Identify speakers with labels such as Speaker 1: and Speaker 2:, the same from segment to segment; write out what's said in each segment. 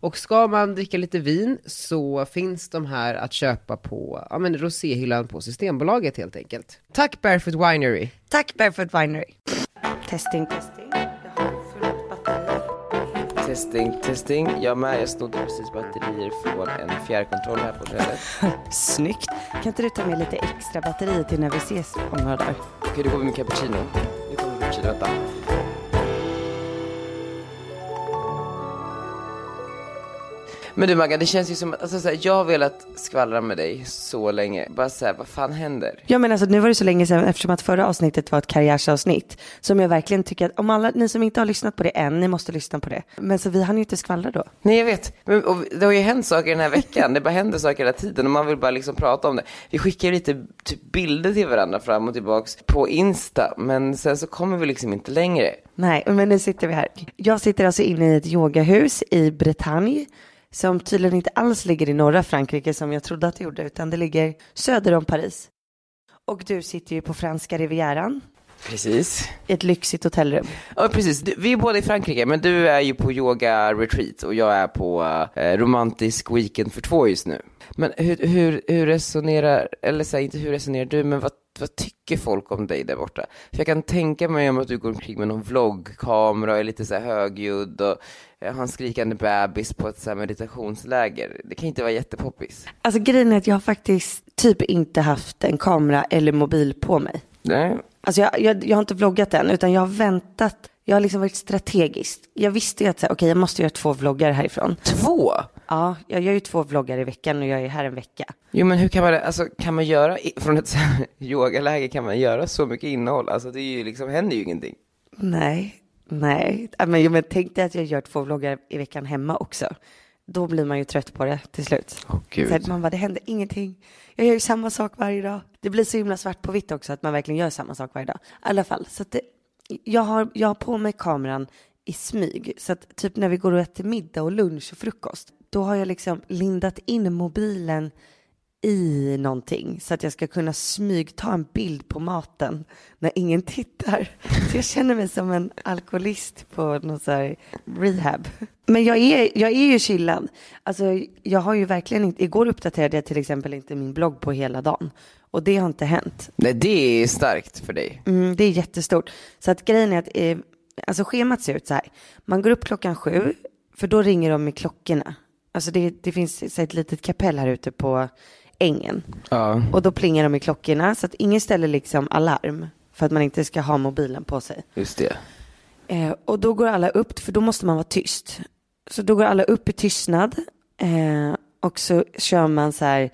Speaker 1: Och ska man dricka lite vin så finns de här att köpa på ja, men roséhyllan på Systembolaget helt enkelt. Tack Barefoot Winery!
Speaker 2: Tack Barefoot Winery. Testing, testing. Jag har fullt batteri.
Speaker 3: Testing, testing. Jag med. Jag snodde precis batterier från en fjärrkontroll här på hotellet.
Speaker 4: Snyggt. Kan inte du ta med lite extra batterier till när vi ses om några dagar?
Speaker 3: Okej, då går vi med cappuccino. Nu kommer vi cappuccino. Vänta. Men du Magga, det känns ju som att alltså, så här, jag har velat skvallra med dig så länge. Bara såhär, vad fan händer?
Speaker 4: Ja men alltså nu var det så länge sedan eftersom att förra avsnittet var ett karriärsavsnitt som jag verkligen tycker att om alla ni som inte har lyssnat på det än, ni måste lyssna på det. Men så vi hann ju inte skvallra då.
Speaker 3: Nej jag vet, men, och det har ju hänt saker den här veckan. Det bara händer saker hela tiden och man vill bara liksom prata om det. Vi skickar ju lite typ, bilder till varandra fram och tillbaks på Insta, men sen så kommer vi liksom inte längre.
Speaker 4: Nej, men nu sitter vi här. Jag sitter alltså inne i ett yogahus i Bretagne som tydligen inte alls ligger i norra Frankrike som jag trodde att det gjorde utan det ligger söder om Paris. Och du sitter ju på franska rivieran
Speaker 3: Precis.
Speaker 4: i ett lyxigt hotellrum.
Speaker 3: Ja, precis. Du, vi är båda i Frankrike, men du är ju på yoga retreat och jag är på eh, romantisk weekend för två just nu. Men hur, hur, hur resonerar, eller så här, inte hur resonerar du, men vad, vad tycker folk om dig där borta? För jag kan tänka mig om att du går omkring med någon vloggkamera och är lite så här högljudd och eh, har en skrikande bebis på ett så här meditationsläger. Det kan inte vara jättepoppis.
Speaker 4: Alltså grejen är att jag har faktiskt typ inte haft en kamera eller mobil på mig.
Speaker 3: Nej,
Speaker 4: Alltså jag, jag, jag har inte vloggat än, utan jag har väntat. Jag har liksom varit strategisk. Jag visste ju att så här, okej, jag måste göra två vloggar härifrån.
Speaker 3: två?
Speaker 4: Ja, jag gör ju två vloggar i veckan och jag är här en vecka.
Speaker 3: Jo men hur kan man, alltså kan man göra, i- från ett så här yogaläger kan man göra så mycket innehåll? Alltså det är ju liksom, händer ju ingenting.
Speaker 4: Nej, nej. Ja, Men, jo, men tänk dig att jag gör två vloggar i veckan hemma också. Då blir man ju trött på det till slut.
Speaker 3: Åh, gud.
Speaker 4: Så att man bara, det händer ingenting. Jag gör ju samma sak varje dag. Det blir så himla svart på vitt också att man verkligen gör samma sak varje dag. I alla fall, så att det, jag, har, jag har på mig kameran i smyg. Så att typ när vi går och äter middag och lunch och frukost, då har jag liksom lindat in mobilen i någonting så att jag ska kunna smygta en bild på maten när ingen tittar. Så jag känner mig som en alkoholist på någon så här rehab. Men jag är, jag är ju chillad. Alltså, jag har ju verkligen inte, igår uppdaterade jag till exempel inte min blogg på hela dagen och det har inte hänt.
Speaker 3: Nej det är starkt för dig.
Speaker 4: Mm, det är jättestort. Så att grejen är att eh, alltså schemat ser ut så här. Man går upp klockan sju, för då ringer de med klockorna. Alltså det, det finns så här, ett litet kapell här ute på ängen.
Speaker 3: Ja.
Speaker 4: Och då plingar de i klockorna så att ingen ställer liksom alarm för att man inte ska ha mobilen på sig.
Speaker 3: Just det.
Speaker 4: Eh, och då går alla upp, för då måste man vara tyst. Så då går alla upp i tystnad eh, och så kör man så här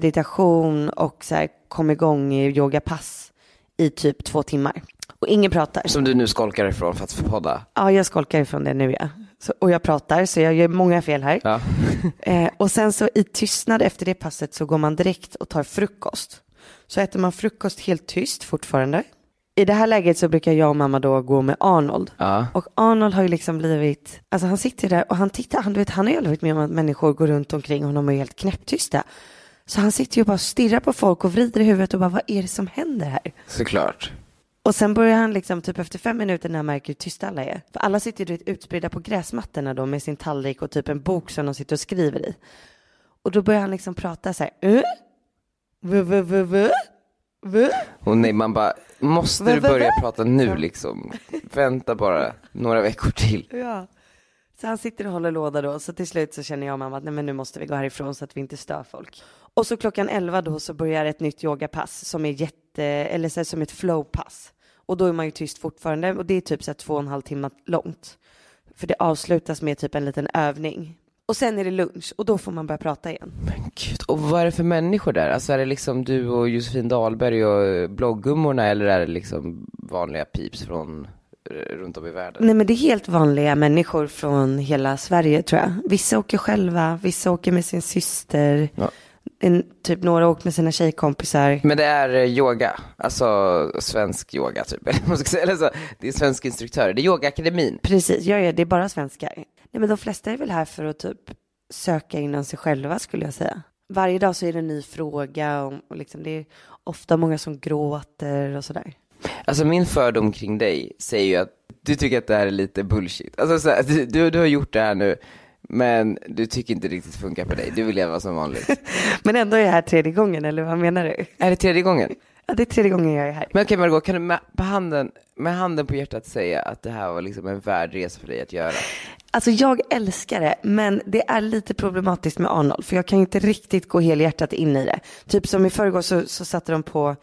Speaker 4: meditation och så här kom igång i yogapass i typ två timmar. Och ingen pratar.
Speaker 3: Som du nu skolkar ifrån för att få podda.
Speaker 4: Ja, jag skolkar ifrån det nu ja. Så, och jag pratar, så jag gör många fel här.
Speaker 3: Ja.
Speaker 4: Eh, och sen så i tystnad efter det passet så går man direkt och tar frukost. Så äter man frukost helt tyst fortfarande. I det här läget så brukar jag och mamma då gå med Arnold.
Speaker 3: Ja.
Speaker 4: Och Arnold har ju liksom blivit, alltså han sitter där och han tittar, han, du vet, han har ju aldrig varit med om att människor går runt omkring honom och är helt knäpptysta. Så han sitter ju bara och stirrar på folk och vrider i huvudet och bara vad är det som händer här?
Speaker 3: Såklart.
Speaker 4: Och sen börjar han liksom typ efter fem minuter när han märker hur tysta alla är. För alla sitter ju du vet, utspridda på gräsmattorna då med sin tallrik och typ en bok som de sitter och skriver i. Och då börjar han liksom prata så här. "Eh? Vö, vö, vö, vö? Vö?"
Speaker 3: Och nej man bara, måste
Speaker 4: Va,
Speaker 3: du
Speaker 4: va,
Speaker 3: börja
Speaker 4: va?
Speaker 3: prata nu liksom? Vänta bara några veckor till.
Speaker 4: Ja. Så han sitter och håller låda då. Så till slut så känner jag och mamma att nej men nu måste vi gå härifrån så att vi inte stör folk. Och så klockan elva då så börjar ett nytt yogapass som är jätte, eller så här, som ett flowpass. Och då är man ju tyst fortfarande och det är typ så här två och en halv timme långt. För det avslutas med typ en liten övning. Och sen är det lunch och då får man börja prata igen.
Speaker 3: Men gud, och vad är det för människor där? Alltså är det liksom du och Josefin Dahlberg och eh, bloggummorna eller är det liksom vanliga peeps från eh, runt om i världen?
Speaker 4: Nej men det är helt vanliga människor från hela Sverige tror jag. Vissa åker själva, vissa åker med sin syster.
Speaker 3: Ja.
Speaker 4: En, typ några har åkt med sina tjejkompisar.
Speaker 3: Men det är eh, yoga, alltså svensk yoga typ. Eller vad man ska säga. Eller så, det är svensk instruktör, det är yogaakademin.
Speaker 4: Precis, ja, ja, det är bara svenskar. Nej men de flesta är väl här för att typ söka inom sig själva skulle jag säga. Varje dag så är det en ny fråga och, och liksom, det är ofta många som gråter och sådär.
Speaker 3: Alltså min fördom kring dig säger ju att du tycker att det här är lite bullshit. Alltså så här, du- du, du har gjort det här nu, men du tycker inte riktigt funkar på dig. Du vill leva som vanligt.
Speaker 4: Men ändå är jag här tredje gången eller vad menar du?
Speaker 3: är det tredje gången?
Speaker 4: Ja, det är tredje gången jag är här.
Speaker 3: Men okej Margot, kan du med, på handen, med handen på hjärtat säga att det här var liksom en värd resa för dig att göra?
Speaker 4: Alltså jag älskar det, men det är lite problematiskt med Arnold, för jag kan inte riktigt gå helhjärtat in i det. Typ som i förrgår så, så satte de på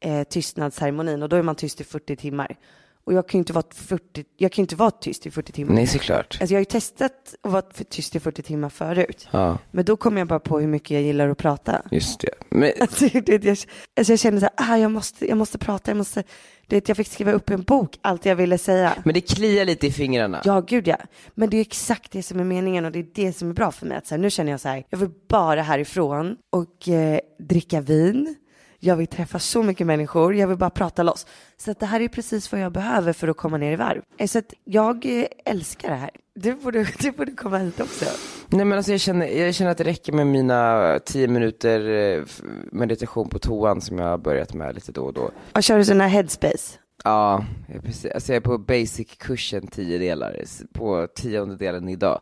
Speaker 4: eh, tystnadsceremonin och då är man tyst i 40 timmar. Och jag kan ju inte vara, 40, jag kan ju inte vara tyst i 40 timmar.
Speaker 3: Nej, såklart.
Speaker 4: Alltså jag har ju testat att vara för tyst i 40 timmar förut,
Speaker 3: Ja,
Speaker 4: men då kom jag bara på hur mycket jag gillar att prata.
Speaker 3: just det. Men,
Speaker 4: Alltså, du vet, jag, alltså jag kände så här, ah, jag, måste, jag måste prata, jag måste, du vet, jag fick skriva upp en bok, allt jag ville säga.
Speaker 3: men det kliar lite i fingrarna.
Speaker 4: Ja, gud ja. Men det är exakt det som är meningen och det är det som är bra för mig. Att så här, nu känner jag så här, jag vill bara härifrån och eh, dricka vin. Jag vill träffa så mycket människor, jag vill bara prata loss. Så att det här är precis vad jag behöver för att komma ner i varv. Eh, Så att jag eh, älskar det här. Du borde, du borde komma hit också.
Speaker 3: Nej men alltså jag känner, jag känner att det räcker med mina tio minuter eh, f- meditation på toan som jag har börjat med lite då och då.
Speaker 4: Och kör du sån här headspace?
Speaker 3: Ja, jag är precis. Alltså jag är på basic-kursen tio delar, s- på tionde delen idag.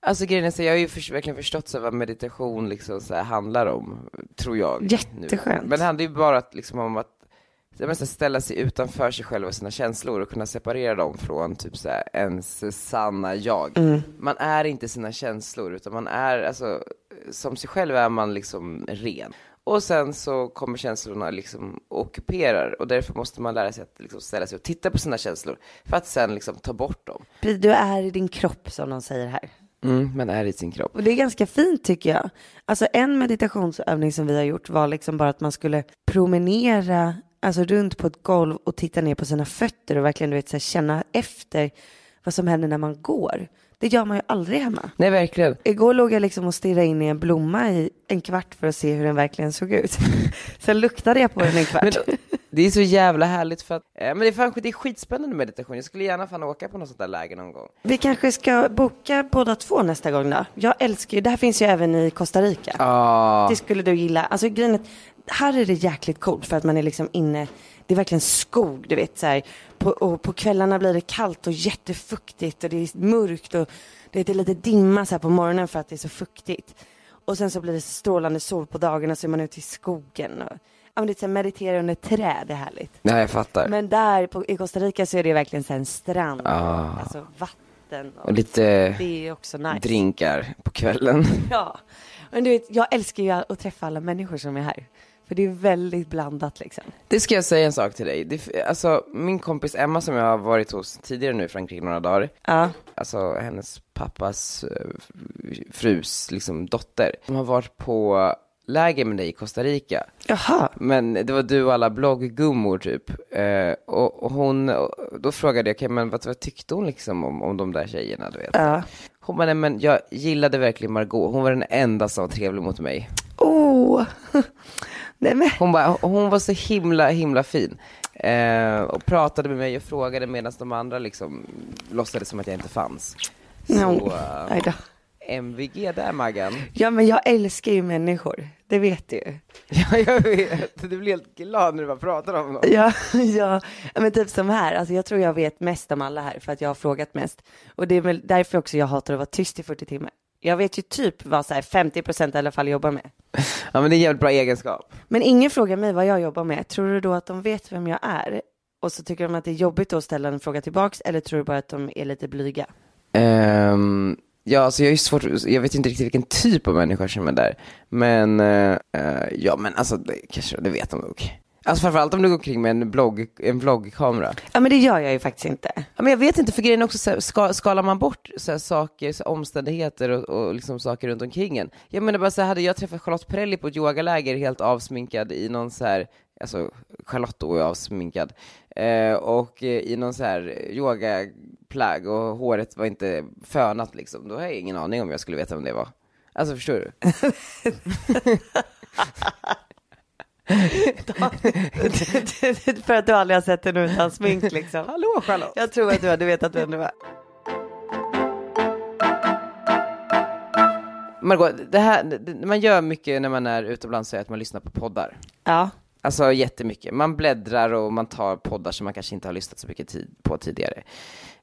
Speaker 3: Alltså grejen är så jag har ju förs- verkligen förstått så här vad meditation liksom så här handlar om, tror jag. nu.
Speaker 4: Jätteskönt.
Speaker 3: Men det handlar ju bara att, liksom om att jag menar, så här, ställa sig utanför sig själv och sina känslor och kunna separera dem från typ så här, ens sanna jag. Man är inte sina känslor utan man är, alltså, som sig själv är man liksom ren. Och sen så kommer känslorna liksom och ockuperar och därför måste man lära sig att liksom ställa sig och titta på sina känslor för att sen liksom ta bort dem.
Speaker 4: Du är i din kropp som de säger här.
Speaker 3: Mm, man är i sin kropp.
Speaker 4: Och det är ganska fint tycker jag. Alltså en meditationsövning som vi har gjort var liksom bara att man skulle promenera alltså runt på ett golv och titta ner på sina fötter och verkligen du vet, så här, känna efter vad som händer när man går. Det gör man ju aldrig hemma.
Speaker 3: Nej verkligen.
Speaker 4: Igår låg jag liksom och stirrade in i en blomma i en kvart för att se hur den verkligen såg ut. Sen luktade jag på den en
Speaker 3: Men
Speaker 4: kvart.
Speaker 3: det är så jävla härligt för att, eh, men det är, fan, det är skitspännande meditation. Jag skulle gärna fan åka på något sånt där läge någon gång.
Speaker 4: Vi kanske ska boka båda två nästa gång då. Jag älskar ju, det här finns ju även i Costa Rica.
Speaker 3: Ja.
Speaker 4: Det skulle du gilla. Alltså grejen är, att här är det jäkligt coolt för att man är liksom inne, det är verkligen skog du vet så här. På, och på kvällarna blir det kallt och jättefuktigt och det är mörkt och det är lite dimma så här på morgonen för att det är så fuktigt. Och sen så blir det strålande sol på dagarna så är man ute i skogen och ja, men det är så här, meditera under träd, det är härligt.
Speaker 3: Nej jag fattar.
Speaker 4: Men där på, i Costa Rica så är det verkligen så här en strand, alltså vatten och,
Speaker 3: Ah. Och lite
Speaker 4: det är också nice.
Speaker 3: drinkar på kvällen.
Speaker 4: Ja, men du vet, jag älskar ju att träffa alla människor som är här. För det är väldigt blandat liksom.
Speaker 3: Det ska jag säga en sak till dig. Det, alltså, min kompis Emma som jag har varit hos tidigare nu i Frankrike några dagar.
Speaker 4: Ja.
Speaker 3: Alltså hennes pappas eh, frus liksom, dotter. De har varit på läger med dig i Costa Rica.
Speaker 4: Jaha.
Speaker 3: Men det var du och alla blogggummor typ. Eh, och, och hon, och då frågade jag, okay, men vad, vad tyckte hon liksom om, om de där tjejerna du vet?
Speaker 4: Ja.
Speaker 3: Hon bara, nej men jag gillade verkligen Margot. Hon var den enda som var trevlig mot mig.
Speaker 4: Åh. Oh. Nej men.
Speaker 3: Hon, bara, hon var så himla, himla fin. Eh, och pratade med mig och frågade medan de andra liksom låtsades som att jag inte fanns. Så,
Speaker 4: No.
Speaker 3: eh,
Speaker 4: Nej då.
Speaker 3: MVG där Maggan.
Speaker 4: Ja men jag älskar ju människor. Det vet du ju.
Speaker 3: Ja, jag vet. Du blir helt glad när du bara pratar om dem.
Speaker 4: Ja, ja, ja, men typ som här. Alltså jag tror jag vet mest om alla här för att jag har frågat mest. Och det är väl därför också jag hatar att vara tyst i 40 timmar. Jag vet ju typ vad så här 50 procent i alla fall jobbar med.
Speaker 3: Ja, men det är en jävligt bra egenskap.
Speaker 4: Men ingen frågar mig vad jag jobbar med. Tror du då att de vet vem jag är? Och så tycker de att det är jobbigt att ställa en fråga tillbaks eller tror du bara att de är lite blyga?
Speaker 3: Ehm, ja, alltså jag är ju svårt, jag vet inte riktigt vilken typ av människor som är där. Men, eh, eh, ja men alltså det, kanske, det vet de nog. Alltså framförallt om du går omkring med en, blogg, en vloggkamera.
Speaker 4: Ja men det gör jag ju faktiskt inte.
Speaker 3: Ja, men jag vet inte, för grejen är också, så här, ska, skalar man bort så här, saker, så här, omständigheter och, och liksom saker runt omkring en. Jag menar bara så här, hade jag träffat Charlotte Perrelli på ett yogaläger helt avsminkad i någon så här, alltså Charlotte då är avsminkad, eh, och eh, i någon så här yogaplagg och håret var inte fönat liksom, då har jag ingen aning om jag skulle veta vem det var. Alltså förstår du?
Speaker 4: För att du aldrig har sett henne utan smink liksom.
Speaker 3: Hallå Charlotte!
Speaker 4: Jag tror att du hade vetat vem det var.
Speaker 3: Margot, det här, det, man gör mycket när man är utomlands så är att man lyssnar på poddar.
Speaker 4: Ja.
Speaker 3: Alltså jättemycket. Man bläddrar och man tar poddar som man kanske inte har lyssnat så mycket tid på tidigare.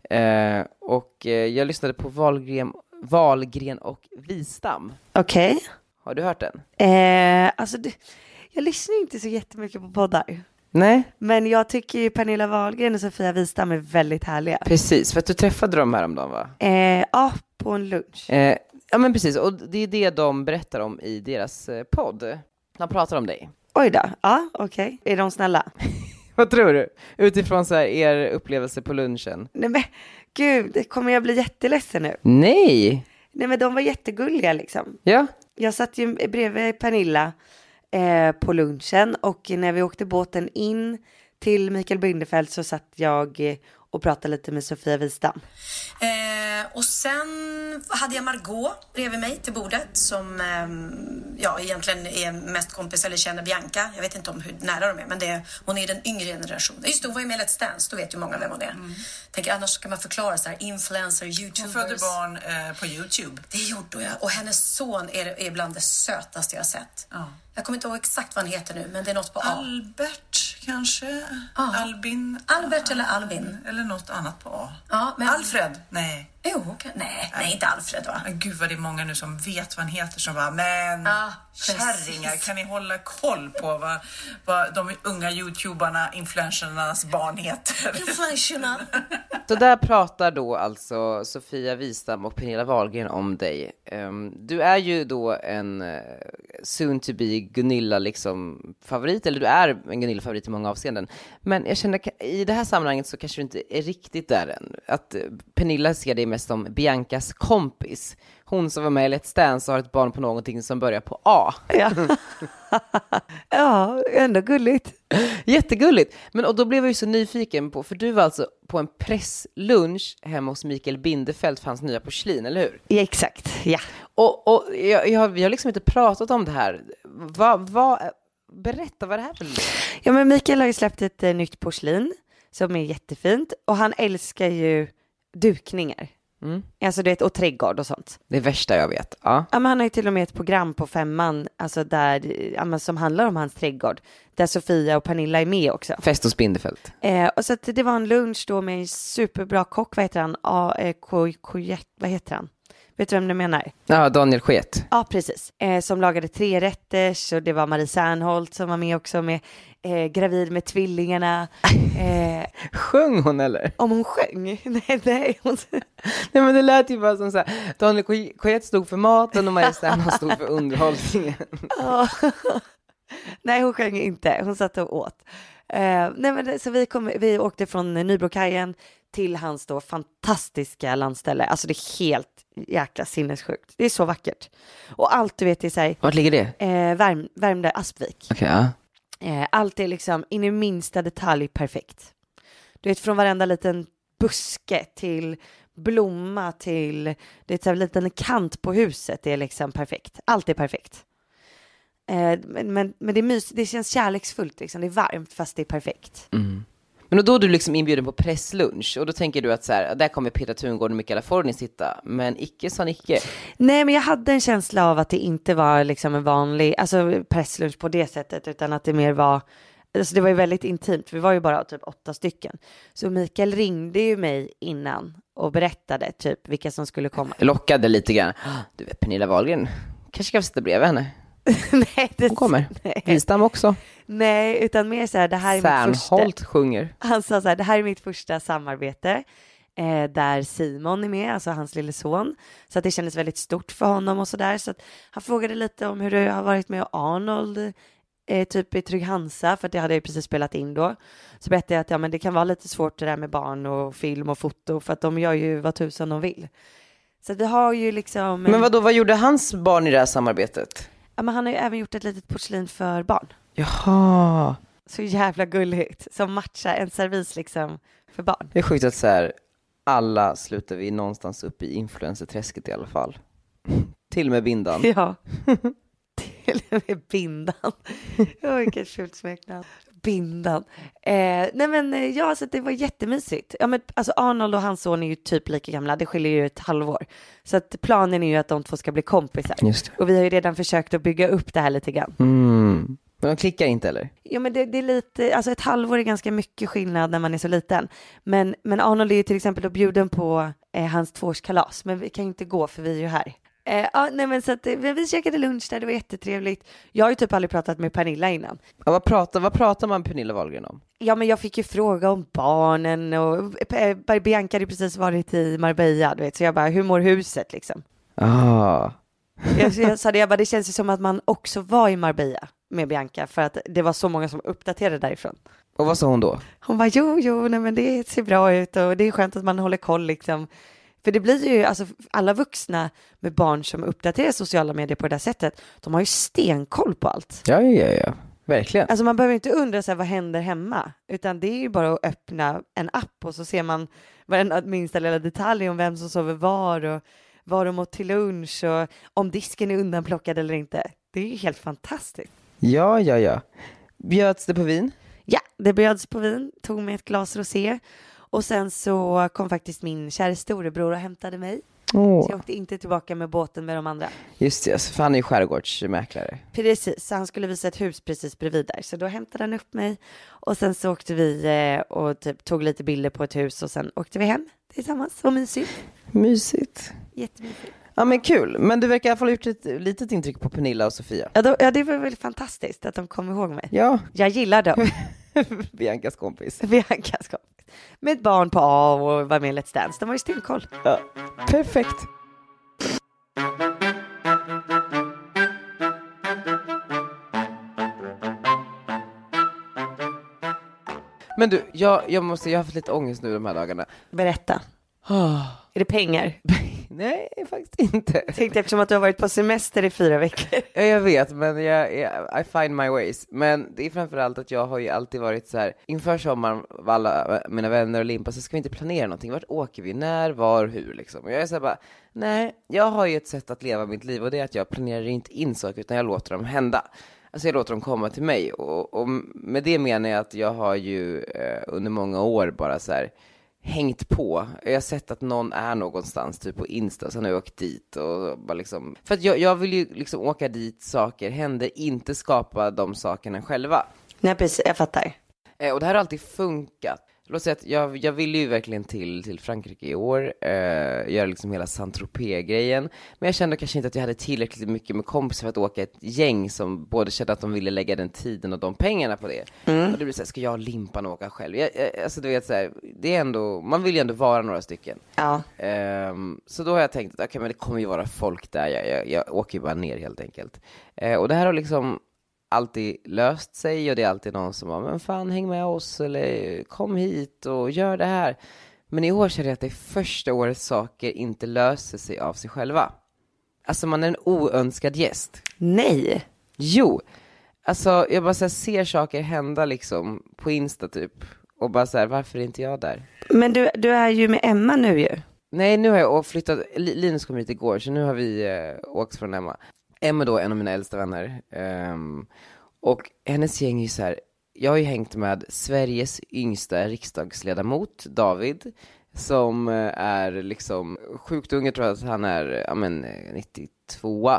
Speaker 3: Eh, och eh, jag lyssnade på Wahlgren, Wahlgren och Wistam.
Speaker 4: Okej.
Speaker 3: Har du hört den?
Speaker 4: Eh, alltså det, jag lyssnar ju inte så jättemycket på poddar.
Speaker 3: Nej.
Speaker 4: Men jag tycker ju Pernilla Wahlgren och Sofia Wistam är väldigt härliga.
Speaker 3: Precis, för att du träffade dem häromdagen va?
Speaker 4: Eh, ja, på en lunch.
Speaker 3: Eh, ja men precis, och det är det de berättar om i deras eh, podd. De pratar om dig.
Speaker 4: Oj då, ja okej. Är de snälla?
Speaker 3: Vad tror du? Utifrån så här, er upplevelse på lunchen.
Speaker 4: Nej men gud, kommer jag bli jätteledsen nu?
Speaker 3: Nej!
Speaker 4: Nej men de var jättegulliga liksom.
Speaker 3: Ja.
Speaker 4: Jag satt ju bredvid Pernilla eh, på lunchen och när vi åkte båten in till Mikael Bindefeld så satt jag eh, och pratade lite med Sofia Wistam.
Speaker 5: Eh, och sen hade jag Margot bredvid mig till bordet som eh, ja, egentligen är mest kompis eller känner Bianca. Jag vet inte om hur nära de är, men det är, hon är ju den yngre generationen. Just det, hon var ju med i Let's Dance, då vet ju många vem hon är. Tänker, annars ska man förklara så här, influencer, youtubers.
Speaker 6: Mm. Hon födde barn eh, på Youtube.
Speaker 5: Det gjorde jag. Och hennes son är, är bland det sötaste jag har sett.
Speaker 6: Ja.
Speaker 5: Jag kommer inte ihåg exakt vad han heter nu, men det är något på A.
Speaker 6: Albert kanske?
Speaker 5: Ja.
Speaker 6: Albin?
Speaker 5: Albert eller Albin?
Speaker 6: Eller något annat på A.
Speaker 5: Ja, men-
Speaker 6: Alfred? Nej.
Speaker 5: Jo, okej. nej, nej, inte Alfred va?
Speaker 6: Men Gud vad det är många nu som vet vad han heter som bara men
Speaker 5: Ja, precis.
Speaker 6: kärringar kan ni hålla koll på vad, vad de unga youtubarna, influencernas barn heter?
Speaker 5: Influencerna.
Speaker 3: Så där pratar då alltså Sofia Wistam och Pernilla Wahlgren om dig. Ehm, du är ju då en eh, soon to be Gunilla liksom favorit, eller du är en Gunilla favorit i många avseenden. Men jag känner ka- i det här sammanhanget så kanske du inte är riktigt där än. Att eh, Pernilla ser dig mest som Biancas kompis. Hon som var med i Let's Dance och har ett barn på någonting som börjar på A.
Speaker 4: Ja. ja, ändå gulligt.
Speaker 3: Jättegulligt! Men och då blev jag ju så nyfiken på, för du var alltså på en presslunch hemma hos Mikael Bindefeld för hans nya porslin, eller hur?
Speaker 4: Ja, exakt, ja.
Speaker 3: Och, och jag, jag, vi har liksom inte pratat om det här. Va, va, berätta vad det här för
Speaker 4: Ja men Mikael har ju släppt ett eh, nytt porslin som är jättefint och han älskar ju dukningar. Alltså du vet, och trädgård och sånt.
Speaker 3: Det värsta jag vet. Ja.
Speaker 4: Ja, men han har ju till och med ett program på femman, alltså där, eh, ja, men som handlar om hans trädgård, där Sofia och Pernilla är med också.
Speaker 3: Fest hos Bindefeld.
Speaker 4: Eh, och så att det var en lunch då med en superbra kock, vad heter han? A, eh, K, K, vad heter han? Vet du vem du menar?
Speaker 3: Ja, Daniel Sket.
Speaker 4: Ja, precis. Eh, som lagade tre rätter och det var Marie Serneholt som var med också med eh, gravid med tvillingarna. Eh,
Speaker 3: Sjöng hon eller?
Speaker 4: om hon sjöng? Nej, nej. Hon...
Speaker 3: Nej men det lät ju bara som så här, Daniel Sket stod för maten och Maria Sternhoff stod för underhållningen.
Speaker 4: Ja. nej, hon sjöng inte. Hon satt och åt. Eh, nej, men det, så vi, kom, vi åkte från Nybrokajen till hans då fantastiska landställe. Alltså det är helt jäkla sinnessjukt. Det är så vackert. Och allt du vet är så här,
Speaker 3: Vart ligger det?
Speaker 4: eh, Värm, Värmdö, Aspvik.
Speaker 3: Okej, ja.
Speaker 4: Eh, allt är liksom in i minsta detalj perfekt. Du vet från varenda liten buske till blomma till du vet, så här, liten kant på huset är liksom perfekt. Allt är perfekt. Eh, men, men, men det, är mys, det känns kärleksfullt liksom. Det är varmt fast det är perfekt.
Speaker 3: Men och då är du liksom inbjuden på presslunch och då tänker du att så här, där kommer Peter Tungård och Mikaela Forni sitta. Men icke sa Nicke.
Speaker 4: Nej, men jag hade en känsla av att det inte var liksom en vanlig alltså presslunch på det sättet, utan att det mer var, alltså det var ju väldigt intimt, vi var ju bara typ åtta stycken. Så Mikael ringde ju mig innan och berättade typ vilka som skulle komma.
Speaker 3: Lockade lite grann. Ah, Du vet Pernilla Wahlgren, kanske kan vi sitta bredvid henne.
Speaker 4: nej, det,
Speaker 3: Hon kommer.
Speaker 4: Nej,
Speaker 3: Wistam också.
Speaker 4: nej, utan mer så här, det här är mitt första.
Speaker 3: Sernholt sjunger.
Speaker 4: Han sa så här, det här är mitt första samarbete eh, där Simon är med, alltså hans lille son. Så att det kändes väldigt stort för honom och så där. Så att han frågade lite om hur det har varit med Arnold eh, typ i Trygg Hansa, för att det hade jag ju precis spelat in då, så berättade jag att ja, men det kan vara lite svårt det där med barn och film och foto, för att de gör ju vad tusan de vill. Så att vi har ju liksom...
Speaker 3: Men vadå, vad gjorde hans barn i det här samarbetet?
Speaker 4: Ja, men han har ju även gjort ett litet porslin för barn.
Speaker 3: Jaha.
Speaker 4: Så jävla gulligt, som matchar en servis liksom för barn.
Speaker 3: Det är sjukt att så här, alla slutar vi någonstans upp i influencerträsket i alla fall. Till och med bindan.
Speaker 4: Ja. Till och med bindan. Åh, vilket fult smeknamn. Bindan. Eh, nej men eh, ja, så att det var jättemysigt. Ja, men, alltså Arnold och hans son är ju typ lika gamla, det skiljer ju ett halvår. Så att planen är ju att de två ska bli kompisar.
Speaker 3: Just det.
Speaker 4: Och vi har ju redan försökt att bygga upp det här lite grann.
Speaker 3: Mm. Men de klickar inte eller?
Speaker 4: Jo men det, det är lite, alltså ett halvår är ganska mycket skillnad när man är så liten. Men, men Arnold är ju till exempel då bjuden på eh, hans tvåårskalas, men vi kan ju inte gå för vi är ju här. Eh, ja, nej men så att, eh, vi käkade lunch där, det var jättetrevligt. Jag har ju typ aldrig pratat med Pernilla innan.
Speaker 3: Ja, vad, pratar, vad pratar man med Pernilla Wahlgren om?
Speaker 4: Ja men jag fick ju fråga om barnen och eh, Bar- Bianca hade ju precis varit i Marbella, du vet, så jag bara, hur mår huset liksom?
Speaker 3: Ah.
Speaker 4: Jag, jag sa det, jag bara, det känns ju som att man också var i Marbella med Bianca för att det var så många som uppdaterade därifrån.
Speaker 3: Och vad sa hon då?
Speaker 4: Hon bara, jo, jo, nej, men det ser bra ut och det är skönt att man håller koll liksom. För det blir ju, alltså alla vuxna med barn som uppdaterar sociala medier på det där sättet, de har ju stenkoll på allt.
Speaker 3: Ja, ja, ja. Verkligen.
Speaker 4: Alltså man behöver inte undra så här, vad händer hemma, utan det är ju bara att öppna en app och så ser man varenda minsta lilla detalj om vem som sover var och vad de åt till lunch och om disken är undanplockad eller inte. Det är ju helt fantastiskt.
Speaker 3: Ja, ja, ja. Bjöds det på vin?
Speaker 4: Ja, det bjöds på vin, tog med ett glas rosé och sen så kom faktiskt min kära storebror och hämtade mig. Så jag åkte inte tillbaka med båten med de andra.
Speaker 3: Just det, alltså, för han är ju skärgårdsmäklare.
Speaker 4: Precis, så han skulle visa ett hus precis bredvid där. Så då hämtade han upp mig och sen så åkte vi eh, och typ tog lite bilder på ett hus och sen åkte vi hem tillsammans. Vad mysigt.
Speaker 3: Mysigt.
Speaker 4: Jättemysigt.
Speaker 3: Ja men kul, men du verkar i alla fall ha gjort ett litet intryck på Pernilla och Sofia.
Speaker 4: Ja, då, ja, det var väl fantastiskt att de kom ihåg mig.
Speaker 3: Ja,
Speaker 4: Jag gillar dem.
Speaker 3: Biancas kompis.
Speaker 4: Biancas kompis. Med ett barn på A och var med i Let's Dance. De var ju stenkoll.
Speaker 3: Ja. Perfekt. Men du, jag, jag måste, jag har haft lite ångest nu de här dagarna.
Speaker 4: Berätta. Är det pengar?
Speaker 3: Nej, faktiskt inte.
Speaker 4: Tänkte eftersom att du har varit på semester i fyra veckor.
Speaker 3: Ja, jag vet, men jag, jag, I find my ways. Men det är framförallt att jag har ju alltid varit så här, inför sommaren, var alla mina vänner och Limpa, så ska vi inte planera någonting. Vart åker vi? När, var, hur liksom? Och jag är så här bara, nej, jag har ju ett sätt att leva mitt liv och det är att jag planerar inte in saker utan jag låter dem hända. Alltså jag låter dem komma till mig och, och med det menar jag att jag har ju eh, under många år bara så här, hängt på. Jag har sett att någon är någonstans, typ på Insta, sen har jag åkt dit och bara liksom. För att jag, jag vill ju liksom åka dit saker händer, inte skapa de sakerna själva.
Speaker 4: Nej, precis. Jag fattar.
Speaker 3: Eh, och det här har alltid funkat. Låt säga att jag, jag ville ju verkligen till, till Frankrike i år, eh, göra liksom hela saint grejen Men jag kände kanske inte att jag hade tillräckligt mycket med kompisar för att åka ett gäng som både kände att de ville lägga den tiden och de pengarna på det. Och det blir såhär, ska jag och Limpan åka själv? Jag, jag, alltså du vet såhär, det är ändå, man vill ju ändå vara några stycken.
Speaker 4: Ja.
Speaker 3: Ehm, så då har jag tänkt att okej, men det kommer ju vara folk där, jag, jag, jag åker ju bara ner helt enkelt. Eh, och det här har liksom alltid löst sig och det är alltid någon som bara, men fan häng med oss eller kom hit och gör det här. Men i år känner jag att det är första året saker inte löser sig av sig själva. Alltså man är en oönskad gäst.
Speaker 4: Nej.
Speaker 3: Jo, alltså jag bara så här, ser saker hända liksom på Insta typ och bara så här, varför är inte jag där?
Speaker 4: Men du, du är ju med Emma nu ju.
Speaker 3: Nej, nu har jag och flyttat, Li- Linus kom hit igår, så nu har vi eh, åkt från Emma. Emma är då, en av mina äldsta vänner. ehm, och hennes gäng är ju så här, jag har ju hängt med Sveriges yngsta riksdagsledamot, David, som eh, är liksom sjukt ung, jag tror att han är, eh, ja men eh, 92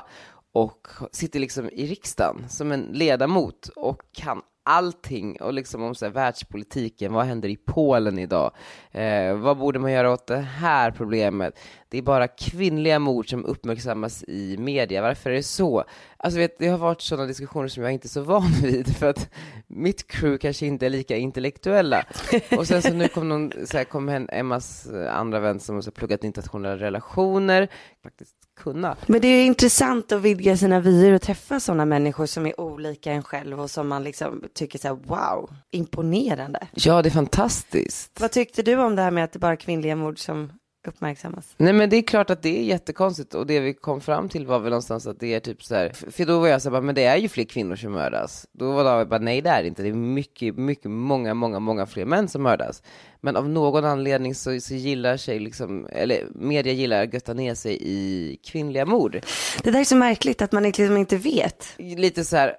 Speaker 3: och sitter liksom i riksdagen som en ledamot och kan allting och liksom om så här världspolitiken, vad händer i Polen idag? Eh, vad borde man göra åt det här problemet? Det är bara kvinnliga mord som uppmärksammas i media, varför är det så? Alltså vet, det har varit sådana diskussioner som jag inte är så van vid för att mitt crew kanske inte är lika intellektuella. Och sen så nu kom, någon, så här, kom hen, Emmas eh, andra vän som har pluggat internationella relationer, faktiskt kunna.
Speaker 4: Men det är ju intressant att vidga sina vyer och träffa sådana människor som är olika en själv och som man liksom tycker så här, wow, imponerande.
Speaker 3: Ja, det är fantastiskt.
Speaker 4: Vad tyckte du om det här med att det bara är kvinnliga mord som uppmärksammas?
Speaker 3: Nej men det är klart att det är jättekonstigt och det vi kom fram till var väl någonstans att det är typ så här, för för då var jag så här, bara, men det är ju fler kvinnor som mördas. Då var David bara, nej det är det inte, det är mycket, mycket, många, många, många fler män som mördas. Men av någon anledning så, så gillar sig liksom, eller media gillar att götta ner sig i kvinnliga mord.
Speaker 4: Det där är så märkligt att man liksom inte vet.
Speaker 3: Lite så här,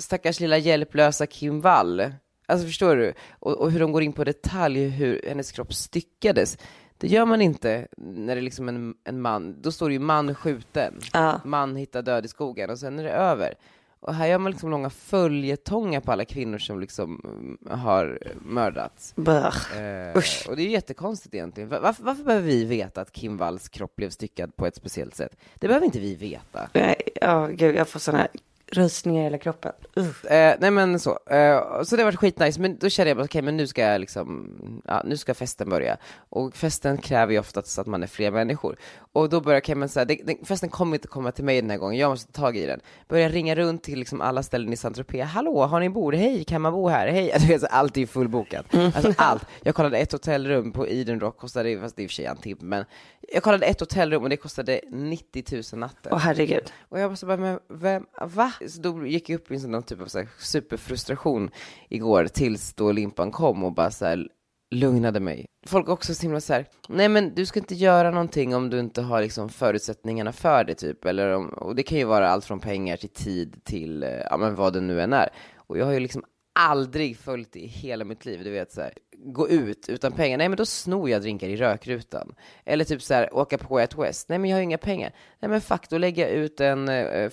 Speaker 3: stackars lilla hjälplösa Kim Wall. Alltså förstår du? Och, och hur de går in på detalj hur hennes kropp styckades. Det gör man inte när det är liksom en, en man, då står det ju man skjuten,
Speaker 4: Ja.
Speaker 3: man hittar död i skogen och sen är det över. Och här gör man liksom långa följetongar på alla kvinnor som liksom mm, har mördats.
Speaker 4: Brr.
Speaker 3: Eh, och det är ju jättekonstigt egentligen. Va- Varför, varför behöver vi veta att Kim Walls kropp blev styckad på ett speciellt sätt? Det behöver inte vi veta.
Speaker 4: Nej, Ja, gud, jag får sådana rysningar i hela kroppen. Uh.
Speaker 3: Eh, nej men så, eh, så det var skitnice, men då kände jag bara okej men nu ska jag liksom, ja, nu ska festen börja. Och festen kräver ju oftast att man är fler människor. Och då börjar Cayman säga, det- det- festen kommer inte komma till mig den här gången, jag måste ta tag i den. Börjar ringa runt till liksom alla ställen i Saint-Tropez, hallå har ni bord, hej kan man bo här, hej. Alltså, vet, så allt är ju fullbokat. Alltså allt. Jag kollade ett hotellrum på Eden Rock, kostade, fast det är i och för sig en timme, men jag kollade ett hotellrum och det kostade 90 000 natten.
Speaker 4: Åh herregud.
Speaker 3: Och jag bara, så bara men vem, va? Så då gick jag upp i någon typ av så här superfrustration igår tills då limpan kom och bara så här lugnade mig. Folk är också så himla så här, nej men du ska inte göra någonting om du inte har liksom förutsättningarna för det typ, eller om, och det kan ju vara allt från pengar till tid till, eh, ja men vad det nu än är. Och jag har ju liksom aldrig följt det i hela mitt liv, du vet så här, gå ut utan pengar, nej men då snor jag drinkar i rökrutan. Eller typ så här, åka på Way Out West, nej men jag har ju inga pengar. Nej men fuck, då lägger jag ut en eh,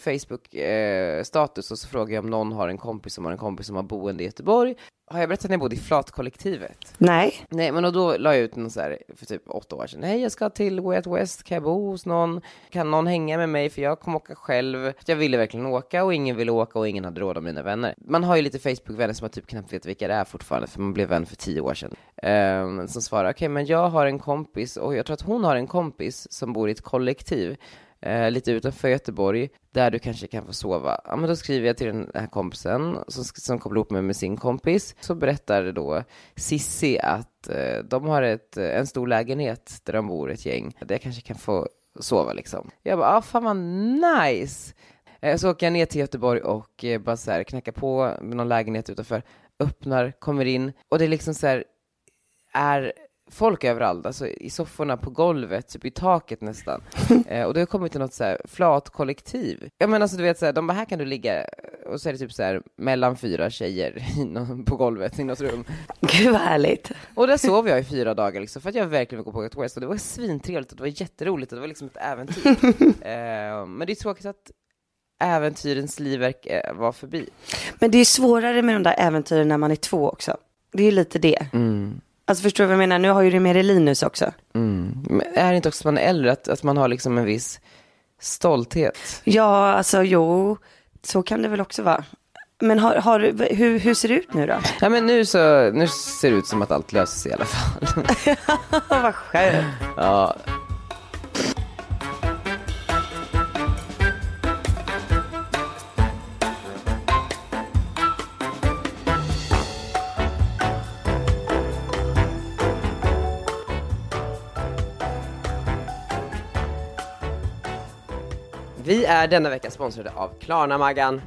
Speaker 3: Facebook-status och så frågar jag om någon har en kompis som har en kompis som har boende i Göteborg. Har jag berättat att jag bodde i Flatkollektivet?
Speaker 4: Nej,
Speaker 3: Nej, men och då la jag ut en så här för typ åtta år sedan. Nej, jag ska till Way Out West, kan jag bo hos någon? Kan någon hänga med mig? För jag kommer åka själv. Jag ville verkligen åka och ingen ville åka och ingen hade råd av mina vänner. Man har ju lite Facebook-vänner som man typ knappt vet vilka det är fortfarande, för man blev vän för tio år sedan. Ehm, som svarar, okej, men jag har en kompis och jag tror att hon har en kompis som bor i ett kollektiv. Eh, lite utanför Göteborg, där du kanske kan få sova. Ja, men då skriver jag till den här kompisen som, sk- som kopplar ihop mig med sin kompis. Så berättar då Sissi att eh, de har ett, eh, en stor lägenhet där de bor ett gäng, där jag kanske kan få sova liksom. Jag bara, ah, fan vad nice! Eh, så åker jag ner till Göteborg och eh, bara så här knackar på någon lägenhet utanför, öppnar, kommer in och det är liksom så här är folk överallt, alltså i sofforna, på golvet, typ i taket nästan. Eh, och det har kommit till något så här flat kollektiv. Ja men alltså du vet så här, de bara här kan du ligga och så är det typ så här mellan fyra tjejer i nå- på golvet i något rum.
Speaker 4: gud vad härligt.
Speaker 3: Och där sov jag i fyra dagar liksom för att jag verkligen ville gå på Get West och det var svintrevligt och det var jätteroligt och det var liksom ett äventyr. eh, men det är tråkigt att äventyrens livverk eh, var förbi.
Speaker 4: Men det är ju svårare med de där äventyren när man är två också. Det är ju lite det. Alltså förstår du vad jag menar? Nu har ju du med dig Linus också.
Speaker 3: Men är det inte också att man är äldre, att, att man har liksom en viss stolthet?
Speaker 4: Ja, alltså jo, så kan det väl också vara. Men har, har, du- v- hur, hur ser det ut nu då?
Speaker 3: Ja men nu så, nu ser det ut som att allt löser sig i alla fall.
Speaker 4: Åh, vad skönt.
Speaker 3: Ja.
Speaker 1: Vi är denna vecka sponsrade av Klarna-Maggan.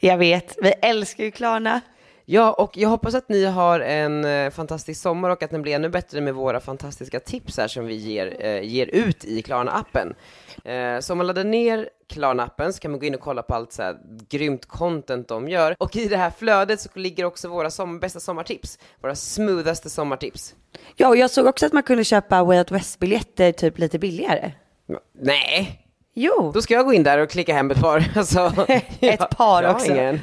Speaker 4: Jag vet, vi älskar ju Klarna.
Speaker 1: Ja, och jag hoppas att ni har en eh, fantastisk sommar och att den blir ännu bättre med våra fantastiska tips här som vi ger, eh, ger ut i Klarna-appen. Eh, så om man laddar ner Klarna-appen så kan man gå in och kolla på allt så här grymt content de gör. Och i det här flödet så ligger också våra som, bästa sommartips, våra smoothaste sommartips.
Speaker 4: Ja, och jag såg också att man kunde köpa Way Out West-biljetter typ lite billigare.
Speaker 1: Nej,
Speaker 4: Jo,
Speaker 1: då ska jag gå in där och klicka hem ett par. Alltså, jag-
Speaker 4: par
Speaker 1: jag har
Speaker 4: också.
Speaker 1: ingen.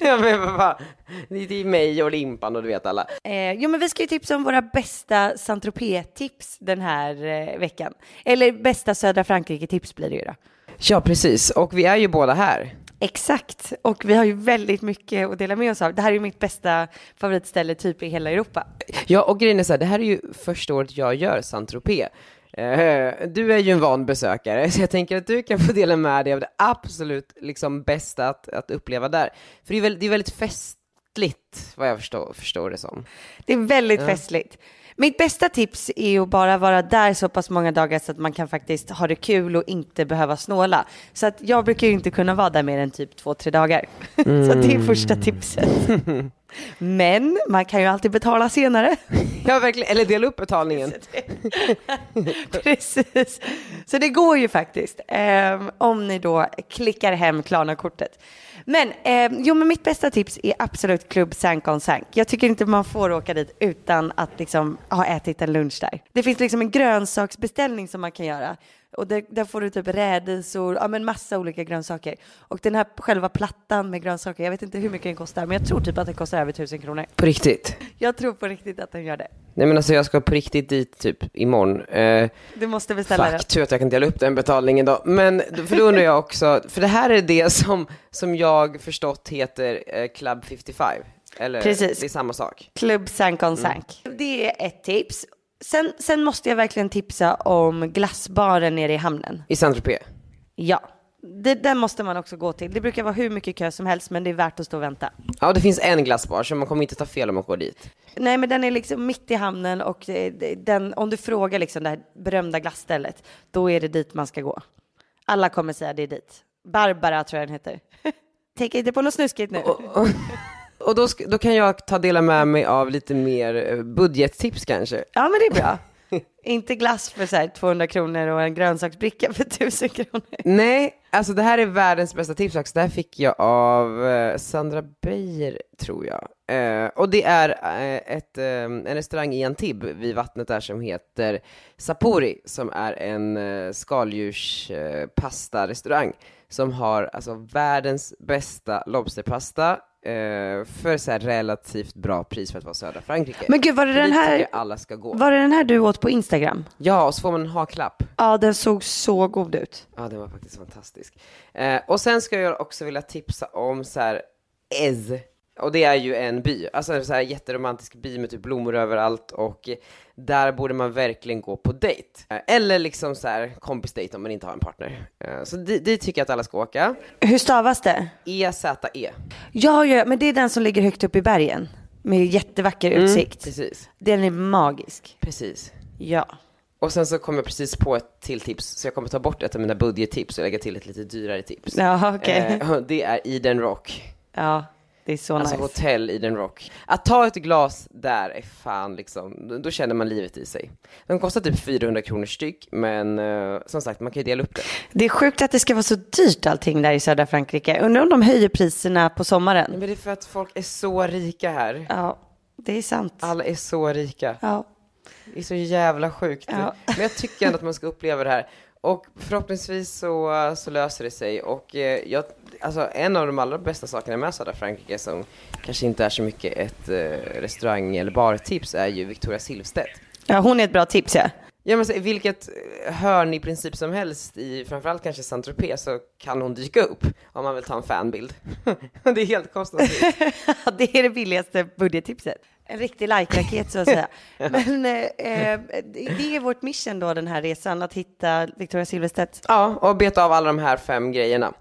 Speaker 1: ja, men vad fan. Det är till mig och Limpan och du vet alla.
Speaker 4: eh, jo men vi ska ju tipsa om våra bästa Saint tips den här eh, veckan. Eller bästa södra Frankrike-tips blir det ju då.
Speaker 1: Ja, precis. Och vi är ju båda här.
Speaker 4: Exakt, och vi har ju väldigt mycket att dela med oss av. Det här är ju mitt bästa favoritställe typ i hela Europa.
Speaker 3: Ja, och grejen är så här, det här är ju första året jag gör saint -Tropez. Eh, Du är ju en van besökare, så jag tänker att du kan få dela med dig av det absolut liksom bästa att, att uppleva där. För det är väldigt, det är väldigt festligt, vad jag förstår, förstår det som.
Speaker 4: Det är väldigt festligt. Mitt bästa tips är ju att bara vara där så pass många dagar så att man kan faktiskt ha det kul och inte behöva snåla. Så att jag brukar ju inte kunna vara där mer än typ två, tre dagar. så det är första tipset. Men man kan ju alltid betala senare.
Speaker 3: Ja, verkligen. Eller dela upp betalningen.
Speaker 4: Precis. Så det går ju faktiskt. ehm, om ni då klickar hem Klarna-kortet. Men, ehm, jo, men mitt bästa tips är absolut klubb Sank on Sank. Jag tycker inte man får åka dit utan att liksom ha ätit en lunch där. Det finns liksom en grönsaksbeställning som man kan göra. Och där, där får du typ rädisor, ja men massa olika grönsaker. Och den här själva plattan med grönsaker, jag vet inte hur mycket den kostar, men jag tror typ att den kostar över tusen kronor.
Speaker 3: På riktigt.
Speaker 4: Jag tror på riktigt att den gör det.
Speaker 3: Nej men alltså jag ska på riktigt dit typ imorgon. Eh,
Speaker 4: Du måste beställa den.
Speaker 3: Fuck, tur att jag kan dela upp den betalningen då. Men för då undrar jag också, för det här är det som, som jag förstått heter eh, Club 55. Eller
Speaker 4: Precis.
Speaker 3: det är samma sak.
Speaker 4: Klubb Sank on Sank. Det är ett tips. Sen, sen måste jag verkligen tipsa om glassbaren nere i hamnen.
Speaker 3: I Saint-Tropez.
Speaker 4: Ja, det, den måste man också gå till. Det brukar vara hur mycket kö som helst men det är värt att stå och vänta.
Speaker 3: Ja, det finns en glassbar så man kommer inte ta fel om man går dit.
Speaker 4: Nej men den är liksom mitt i hamnen och eh, den, om du frågar liksom det här berömda glasstället, då är det dit man ska gå. Alla kommer säga det är dit. Barbara tror jag den heter. Tänk inte på något snuskigt nu.
Speaker 3: Och då, sk- då kan jag ta dela med mig av lite mer eh, budgettips kanske.
Speaker 4: Ja men det är bra. inte glass för så här 200 kronor och en grönsaksbricka för 1000 kronor.
Speaker 3: Nej, alltså det här är världens bästa tips faktiskt. Det här fick jag av eh, Sandra Beijer, tror jag. Eh, och det är eh, ett, eh, en restaurang i Antibes vid vattnet där som heter Sapori, som är en eh, skaldjurspasta-restaurang eh, pastarestaurang som har alltså världens bästa lobsterpasta eh, för så här relativt bra pris för att vara södra Frankrike.
Speaker 4: Men gud, var det
Speaker 3: För
Speaker 4: den
Speaker 3: dit
Speaker 4: här-
Speaker 3: tycker jag alla ska gå.
Speaker 4: Var det den här du åt på Instagram?
Speaker 3: Ja, och så får man en haklapp.
Speaker 4: Ja, den såg så god ut.
Speaker 3: Ja, den var faktiskt fantastisk. Eh, och sen ska jag också vilja tipsa om så här Ez. Och det är ju en by, alltså en så här jätteromantisk by med typ blommor överallt och där borde man verkligen gå på dejt. Eh, Eller liksom så här kompisdejt om man inte har en partner. Eh, Så dit dit tycker jag att alla ska åka. E,
Speaker 4: Hur stavas det?
Speaker 3: E-Z-E.
Speaker 4: Mm. Ja, ja, men det är den som ligger högt upp i bergen. Med jättevacker utsikt.
Speaker 3: Precis,
Speaker 4: Mm. Den är magisk.
Speaker 3: precis.
Speaker 4: Ja.
Speaker 3: Och sen så kom jag precis på ett till tips, så jag kommer ta bort ett av mina budgettips och lägga till ett lite dyrare tips.
Speaker 4: Ja, okej.
Speaker 3: Eh, och Det är Eden Rock.
Speaker 4: Ja, det är så
Speaker 3: Alltså
Speaker 4: nice.
Speaker 3: hotell i den rock. Att ta ett glas där är fan liksom, då- då känner man livet i sig. De kostar typ 400 kronor styck, men eh, som sagt man kan ju dela upp det.
Speaker 4: Det är sjukt att det ska vara så dyrt allting där i södra Frankrike. Undrar om de höjer priserna på
Speaker 3: Men
Speaker 4: sommaren.
Speaker 3: det är för att folk är så rika här.
Speaker 4: Ja, det är sant.
Speaker 3: Alla är så rika.
Speaker 4: Ja.
Speaker 3: Det är så jävla sjukt.
Speaker 4: Ja.
Speaker 3: Men jag tycker ändå att man ska uppleva det här. Och förhoppningsvis så, så löser det sig. Och eh, jag, alltså en av de allra bästa sakerna med södra Frankrike som kanske inte är så mycket ett eh, restaurang eller bartips är ju Victoria Silvstedt.
Speaker 4: ja, hon är ett bra tips ja.
Speaker 3: Ja men så, i vilket eh, hörn i princip som helst i framförallt kanske Saint-Tropez så kan hon dyka upp om man vill ta en fanbild. det är helt kostnadsfritt.
Speaker 4: Ja, det är det billigaste budgettipset. En riktig like-raket så att säga. Men eh, eh, det det är vårt mission då den här resan, att hitta Victoria Silvstedt.
Speaker 3: ja, och beta av alla de här fem grejerna.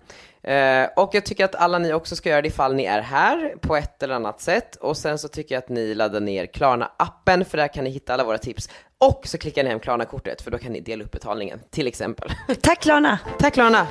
Speaker 3: Eh, och jag tycker att alla ni också ska göra det ifall ni är här på ett eller annat sätt. Och sen så tycker jag att ni laddar ner Klarna-appen för där kan ni hitta alla våra tips. Och så klickar ni hem Klarna-kortet för då kan ni dela upp betalningen till exempel.
Speaker 4: Tack Lana!
Speaker 3: Tack Klarna!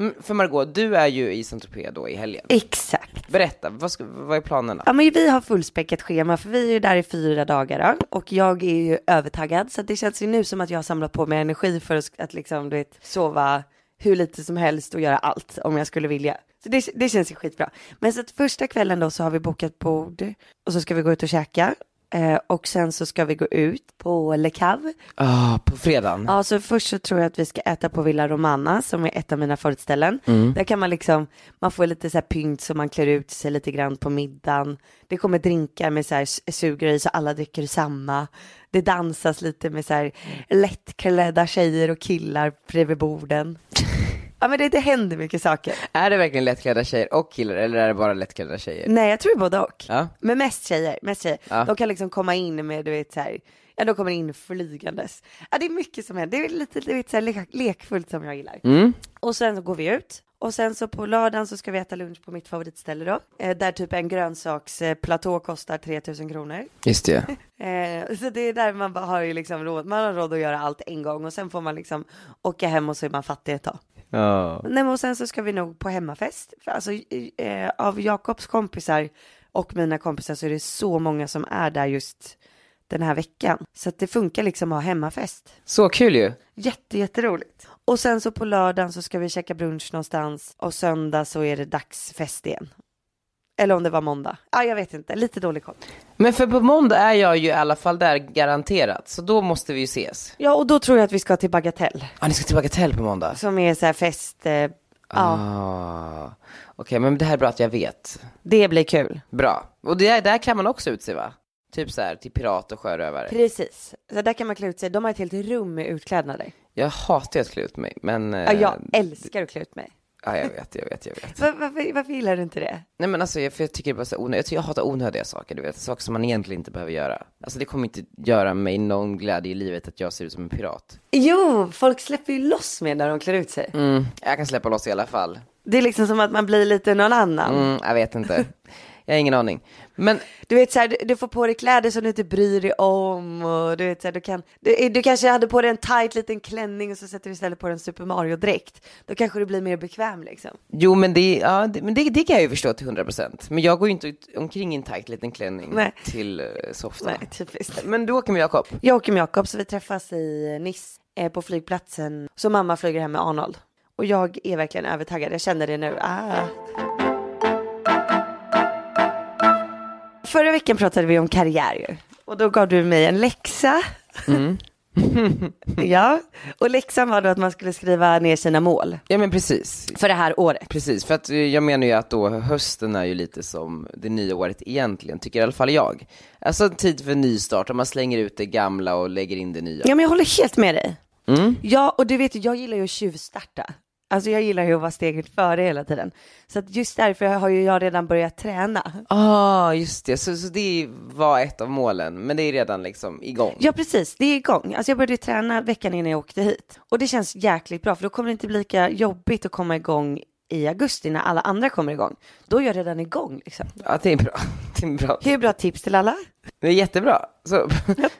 Speaker 3: Mm, För Margot, du är ju i Saint-Tropez då i helgen.
Speaker 4: Exakt.
Speaker 3: Berätta, vad, ska, vad är planerna?
Speaker 4: Ja, men vi har fullspäckat schema för vi är ju där i fyra dagar då. och jag är ju övertaggad så att det känns ju nu som att jag har samlat på mig energi för att- att liksom, du vet, sova hur lite som helst och göra allt om jag skulle vilja. Så det, det känns ju skitbra. Men så att första kvällen då så har vi bokat bord och så ska vi gå ut och käka Eh, och sen så ska vi gå ut på Le Cave.
Speaker 3: Ah, på fredagen.
Speaker 4: Ja, så först så tror jag att vi ska äta på Villa Romana som är ett av mina förutställen. Där kan man liksom, man får lite så här pynt så man klär ut sig lite grann på middagen. Det kommer drinkar med så här s- sugrör i så alla dricker samma. Det dansas lite med så här lättklädda tjejer och killar bredvid borden. Ja men det, det händer mycket saker.
Speaker 3: Är det verkligen lättklädda tjejer och killar eller är det bara lättklädda tjejer?
Speaker 4: Nej jag tror både och.
Speaker 3: Ja.
Speaker 4: Men mest tjejer, mest tjejer.
Speaker 3: Ja.
Speaker 4: De kan liksom komma in med, du vet så här, ja de kommer in flygandes. Ja det är mycket som händer, det är lite du vet, så här, lek, lekfullt som jag gillar. Och sen så går vi ut. Och sen så på lördagen så ska vi äta lunch på mitt favoritställe då. Eh, där typ en grönsaksplatå kostar 3000 kronor.
Speaker 3: Just det.
Speaker 4: Eh, så det är där man bara har ju liksom råd, man har råd att göra allt en gång och sen får man liksom åka hem och så är man fattig ett tag.
Speaker 3: Ja.
Speaker 4: Nej, men och sen så ska vi nog på hemmafest. För alltså, eh, av Jakobs kompisar och mina kompisar så är det så många som är där just den här veckan. Så att det funkar liksom att ha hemmafest.
Speaker 3: Så kul ju.
Speaker 4: Jätte, jätteroligt. Och sen så på lördagen så ska vi käka brunch någonstans och söndag så är det dagsfest igen. Eller om det var måndag. Ja, ah, jag vet inte. Lite dålig koll.
Speaker 3: Men för på måndag är jag ju i alla fall där garanterat. Så då måste vi ju ses.
Speaker 4: Ja, och då tror jag att vi ska till Bagatell
Speaker 3: Ah, ni ska till Bagatell på måndag?
Speaker 4: som är så här fest. Eh, Ja,
Speaker 3: Ah. Okej, men det här är bra att jag vet.
Speaker 4: det blir kul.
Speaker 3: Bra. Och det där, där kan man också utse va? Typ så här till pirat och sjörövare.
Speaker 4: Precis. Så där kan man klä ut sig. De har ett helt rum med utklädnader.
Speaker 3: Jag hatar ju att klä ut mig, men...
Speaker 4: Ja,
Speaker 3: eh,
Speaker 4: jag älskar att klä ut mig.
Speaker 3: ja, jag vet, jag vet, jag vet.
Speaker 4: Var, varför, varför gillar du inte det?
Speaker 3: Nej men alltså jag, för jag tycker det är bara så onödigt, jag, tycker jag hatar onödiga saker, du vet, saker som man egentligen inte behöver göra. Alltså det kommer inte göra mig någon glädje i livet att jag ser ut som en pirat.
Speaker 4: Jo, folk släpper ju loss mer när de klär ut sig.
Speaker 3: Mm, jag kan släppa loss i alla fall.
Speaker 4: Det är liksom som att man blir lite någon annan.
Speaker 3: Mm, jag vet inte. Jag har ingen aning. Men
Speaker 4: Du vet så här, du, du får på dig kläder som du inte bryr dig om och du vet så här, du kan, du, du kanske hade på dig en tight liten klänning och så sätter du istället på dig en Super Mario-dräkt. Då kanske du blir mer bekväm liksom.
Speaker 3: jo men det, ja, det, men det, det kan jag ju förstå till 100%. Men jag går ju inte ut- omkring i en tight liten klänning
Speaker 4: Nej.
Speaker 3: till eh, softan.
Speaker 4: Nej, typiskt.
Speaker 3: Men du åker med Jakob.
Speaker 4: Jag åker med Jakob så vi träffas i Nice eh, på flygplatsen. Så mamma flyger hem med Arnold. Och jag är verkligen övertaggad, jag känner det nu. Ah. Förra veckan pratade vi om karriär ju. Och då gav du mig en läxa. ja, och läxan var då att man skulle skriva ner sina mål
Speaker 3: Ja men precis.
Speaker 4: för det här året.
Speaker 3: Precis, för att eh, jag menar ju att då hösten är ju lite som det nya året egentligen, tycker i alla fall jag. Alltså en tid för nystart, om man slänger ut det gamla och lägger in det nya.
Speaker 4: Ja, men jag håller helt med dig. Ja, och du vet, jag gillar ju att tjuvstarta. Alltså jag gillar ju att vara steget före hela tiden. Så att just därför har ju jag redan börjat träna.
Speaker 3: Ah, just det, så, så det var ett av målen, men det är redan liksom igång.
Speaker 4: Ja, precis. Det är igång. Alltså jag började träna veckan innan jag åkte hit. Och det känns jäkligt bra, för då kommer det inte bli lika jobbigt att komma igång i augusti när alla andra kommer igång. Då är jag redan igång liksom.
Speaker 3: Ja, det är bra. Det är bra.
Speaker 4: Det är bra tips till alla.
Speaker 3: Det är jättebra. Så,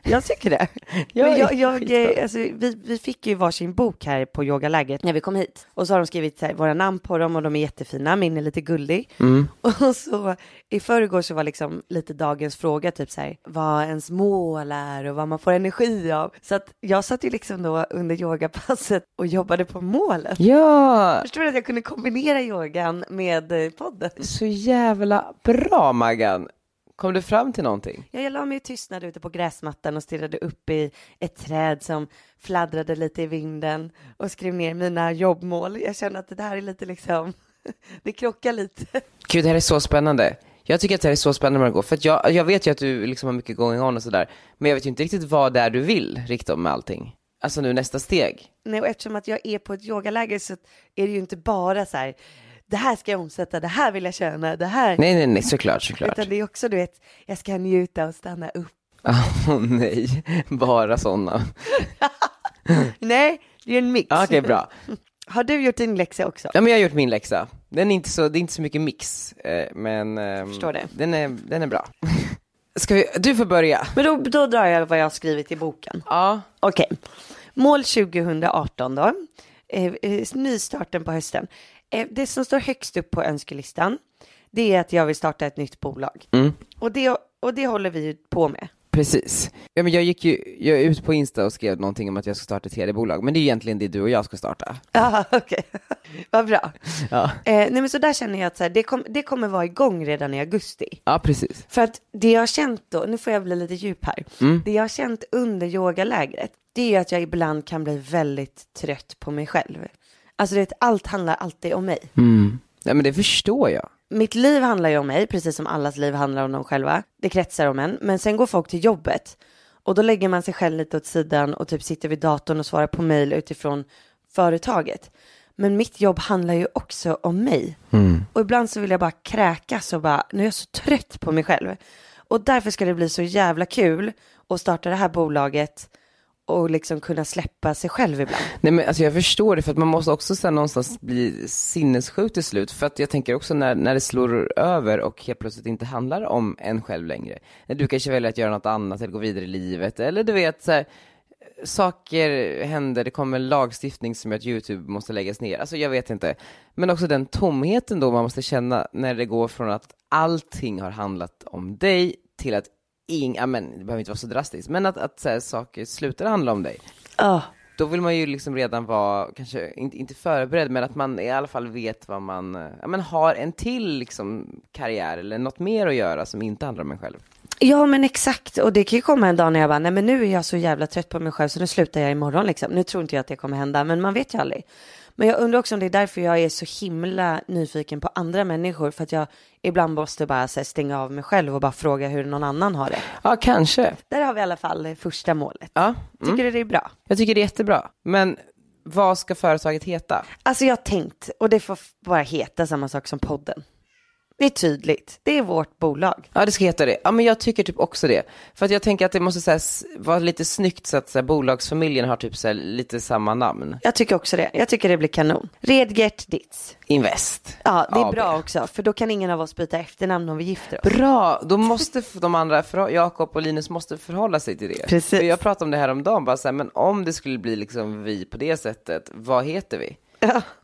Speaker 4: Jag tycker det.
Speaker 3: Ja,
Speaker 4: Men jag, jag,
Speaker 3: skitbra.
Speaker 4: eh, alltså, vi, vi fick ju varsin bok här på yogalägret när vi kom hit. Och så har de skrivit så här, våra namn på dem och de är jättefina. Min är lite gullig. Och så i förrgår så var liksom lite dagens fråga typ så här vad ens mål är och vad man får energi av. Så att jag satt ju liksom då under yogapasset och jobbade på målet.
Speaker 3: ja,
Speaker 4: Förstår du att jag kunde kombinera yogan med eh, podden?
Speaker 3: så jävla bra Maggan. Kom du fram till någonting?
Speaker 4: Ja, jag la mig i tystnad ute på gräsmattan och stirrade upp i ett träd som fladdrade lite i vinden och skrev ner mina jobbmål. Jag känner att det här är lite liksom, det krockar lite.
Speaker 3: Gud, det här är så spännande. Jag tycker att det här är så spännande Margot, för att jag, jag vet ju att du liksom har mycket going on och sådär, men jag vet ju inte riktigt vad det är du vill riktigt med allting. Alltså nu nästa steg.
Speaker 4: Nej, och eftersom att jag är på ett yogaläger så är det ju inte bara så här, det här ska jag omsätta, det här vill jag tjäna, det här.
Speaker 3: Nej, nej, nej, såklart, såklart.
Speaker 4: Utan det är också, du vet, jag ska njuta och stanna upp.
Speaker 3: Åh nej, bara sådana.
Speaker 4: Nej, det är ju en mix.
Speaker 3: Ja, Okej, bra.
Speaker 4: Har du gjort din läxa också?
Speaker 3: Ja, men jag har gjort min läxa. Den är inte så, det är inte så mycket mix, eh, men ehm,
Speaker 4: Förstår det.
Speaker 3: Den, är, den är bra. Ska vi, du får börja.
Speaker 4: Men då, då drar jag vad jag har skrivit i boken.
Speaker 3: Ja,
Speaker 4: Okej. Mål 2018 då. Eh, eh, nystarten på hösten. Eh, det som står högst upp på önskelistan, det är att jag vill starta ett nytt bolag. Och, det, och det håller vi ju på med.
Speaker 3: Precis. Ja, men jag gick ju jag är ut på Insta och skrev någonting om att jag ska starta ett tv-bolag, men det är egentligen det du och jag ska starta.
Speaker 4: Ja, okej. Vad bra.
Speaker 3: Ja,
Speaker 4: Eh, nej men så där känner jag att så här, det, kom, det kommer vara igång redan i augusti.
Speaker 3: ja precis.
Speaker 4: För att det jag har känt då, nu får jag bli lite djup här. Det jag har känt under yogalägret, det är att jag ibland kan bli väldigt trött på mig själv. Alltså du vet, allt handlar alltid om mig.
Speaker 3: Mm. Ja, men det förstår jag.
Speaker 4: Mitt liv handlar ju om mig, precis som allas liv handlar om dem själva. Det kretsar om en, men sen går folk till jobbet. Och då lägger man sig själv lite åt sidan och typ sitter vid datorn och svarar på mejl utifrån företaget. Men mitt jobb handlar ju också om mig. Och ibland så vill jag bara kräkas och bara, nu är jag så trött på mig själv. Och därför ska det bli så jävla kul att starta det här bolaget och liksom kunna släppa sig själv ibland.
Speaker 3: Nej men alltså jag förstår det för att man måste också sen någonstans bli sinnessjuk till slut. För att jag tänker också när, när det slår över och helt plötsligt inte handlar om en själv längre. När du kanske väljer att göra något annat eller gå vidare i livet. Eller du vet så här, saker händer, det kommer lagstiftning som gör att YouTube måste läggas ner. Alltså jag vet inte. Men också den tomheten då man måste känna när det går från att allting har handlat om dig till att ing, ja men det behöver inte vara så drastiskt, men att, att så här, saker slutar handla om dig.
Speaker 4: Ah.
Speaker 3: Då vill man ju liksom redan vara, kanske inte, inte förberedd, men att man i alla fall vet vad man, eh, ja men har en till liksom karriär eller något mer att göra som inte handlar om en själv.
Speaker 4: Ja men exakt och det kan ju komma en dag när jag bara, nej men nu är jag så jävla trött på mig själv så nu slutar jag imorgon liksom. Nu tror inte jag att det kommer hända men man vet ju aldrig. Men jag undrar också om det är därför jag är så himla nyfiken på andra människor för att jag ibland måste bara så här, stänga av mig själv och bara fråga hur någon annan har det.
Speaker 3: Ja, kanske.
Speaker 4: Där har vi i alla fall eh, första målet.
Speaker 3: Ja,
Speaker 4: Tycker
Speaker 3: mm.
Speaker 4: du det är bra?
Speaker 3: jag tycker det är jättebra. Men vad ska företaget heta?
Speaker 4: Alltså jag har tänkt och det får f- bara heta samma sak som podden. Det är tydligt, det är vårt bolag.
Speaker 3: Ja, det ska heta det. Ja, men jag tycker typ också det. För att jag tänker att det måste så här, s- vara lite snyggt så att så här, bolagsfamiljen har typ så här, lite samma namn.
Speaker 4: Jag tycker också det, jag tycker det blir kanon. Redgert Ditz.
Speaker 3: Invest.
Speaker 4: Ja, det är
Speaker 3: AB.
Speaker 4: bra också, för då kan ingen av oss byta efternamn om vi gifter oss.
Speaker 3: Bra, då måste f- de andra, förhå- Jakob och Linus måste förhålla sig till det.
Speaker 4: Precis.
Speaker 3: För jag pratade om det här om dagen, bara så här, men om det skulle bli liksom vi på det sättet, vad heter vi?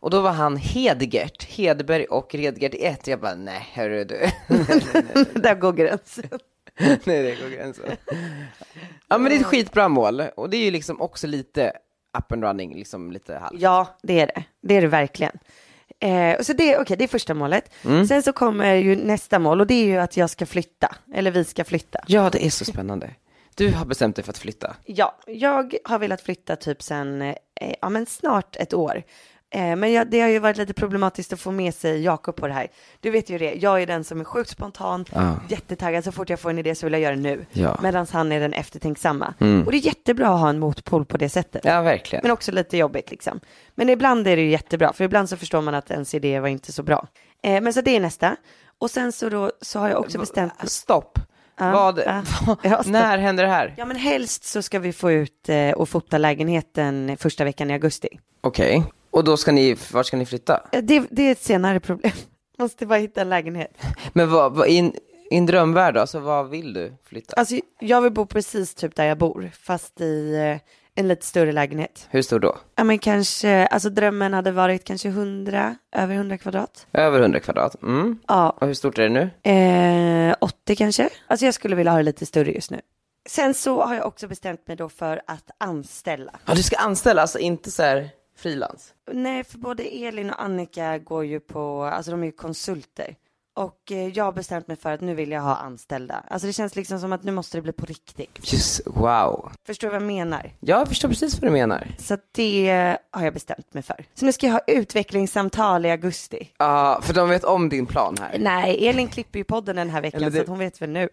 Speaker 3: Och då var han Hedgert, Hedberg och Redgert i ett. Jag bara, nej hörru du,
Speaker 4: Där går gränsen.
Speaker 3: nej det går gränsen. Ja men det är ett skitbra mål, och det är ju liksom också lite up and running, liksom lite halv.
Speaker 4: Ja, det är det. Det är det verkligen. Eh, och så det, okay, det är första målet. Sen så kommer ju nästa mål och det är ju att jag ska flytta. Eller vi ska flytta.
Speaker 3: Ja, det är så spännande. Du har bestämt dig för att flytta.
Speaker 4: Ja, jag har velat flytta typ sen, eh, ja men snart ett år. Eh, men jag, det har ju varit lite problematiskt att få med sig Jakob på det här. Du vet ju det, jag är den som är sjukt spontan,
Speaker 3: Ja.
Speaker 4: jättetaggad, så fort jag får en idé så vill jag göra det nu.
Speaker 3: Ja. Mm.
Speaker 4: Medan han är den eftertänksamma. Och det är jättebra att ha en motpol på det sättet.
Speaker 3: Ja, verkligen.
Speaker 4: Men också lite jobbigt liksom. Men ibland är det ju jättebra, för ibland så förstår man att ens idé var inte så bra. Eh, men så det är nästa. Och sen så då, så har jag också bestämt
Speaker 3: Stopp. vad,
Speaker 4: ja.
Speaker 3: vad,
Speaker 4: Ja, stopp.
Speaker 3: när händer det här?
Speaker 4: Ja men helst så ska vi få ut eh, och fota lägenheten första veckan i augusti.
Speaker 3: Okej. Och då ska ni, vart ska ni flytta?
Speaker 4: Eh, Det, det är ett senare problem. Måste bara hitta en lägenhet.
Speaker 3: Men vad, vad, i, en, i en drömvärld då, alltså vad vill du flytta?
Speaker 4: Alltså jag vill bo precis typ där jag bor, fast i eh, en lite större lägenhet.
Speaker 3: Hur stor då?
Speaker 4: Ja men kanske, alltså drömmen hade varit kanske 100, över 100 kvadrat.
Speaker 3: Över 100 kvadrat? Mm.
Speaker 4: Ja,
Speaker 3: Och hur stort är det nu?
Speaker 4: Eh, 80 kanske. Alltså jag skulle vilja ha det lite större just nu. Sen så har jag också bestämt mig då för att anställa.
Speaker 3: Ja, du ska anställa, alltså inte så här frilans?
Speaker 4: Nej, för både Elin och Annika går ju på, alltså de är ju konsulter. Och eh, jag har bestämt mig för att nu vill jag ha anställda. Alltså det känns liksom som att nu måste det bli på riktigt.
Speaker 3: Just, wow.
Speaker 4: Förstår du vad jag menar?
Speaker 3: Ja, Jag förstår precis vad du menar.
Speaker 4: Så att det har jag bestämt mig för. Så nu ska jag ha utvecklingssamtal i augusti.
Speaker 3: Ja, för de vet om din plan här.
Speaker 4: Nej, Elin klipper ju podden den här veckan
Speaker 3: Eller det-
Speaker 4: så att hon vet väl nu.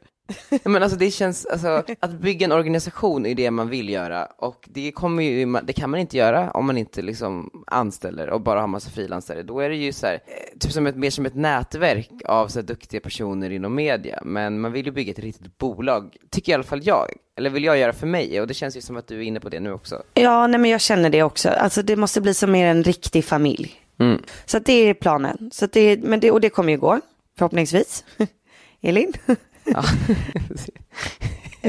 Speaker 3: Men alltså det känns, alltså att bygga en organisation är det man vill göra och det kommer ju, man- det kan man inte göra om man inte liksom anställer och bara har massa frilansare. Då är det ju så här, eh, typ som ett, mer som ett nätverk av så här duktiga personer inom media. Men man vill ju bygga ett riktigt bolag, tycker i alla fall jag. Eller vill jag göra för mig och det känns ju som att du är inne på det nu också.
Speaker 4: Ja, nej men jag känner det också. Alltså det måste bli som mer en riktig familj.
Speaker 3: Mm.
Speaker 4: Så att det är planen. Så att det, men det, och det kommer ju gå, förhoppningsvis. Elin?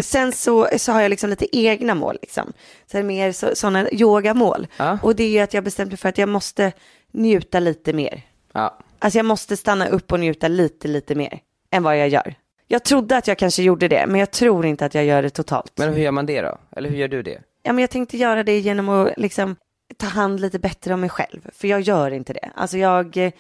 Speaker 4: Sen så, så har jag liksom lite egna mål liksom. Så här mer så, sådana yogamål.
Speaker 3: Ja.
Speaker 4: Och det är ju att jag bestämt mig för att jag måste njuta lite mer.
Speaker 3: Ja.
Speaker 4: Alltså jag måste stanna upp och njuta lite, lite mer än vad jag gör. Jag trodde att jag kanske gjorde det, men jag tror inte att jag gör det totalt.
Speaker 3: Men hur gör man det då? Eller hur gör du det?
Speaker 4: Ja, men jag tänkte göra det genom att liksom ta hand lite bättre om mig själv, för jag gör inte det. Alltså jag, eh,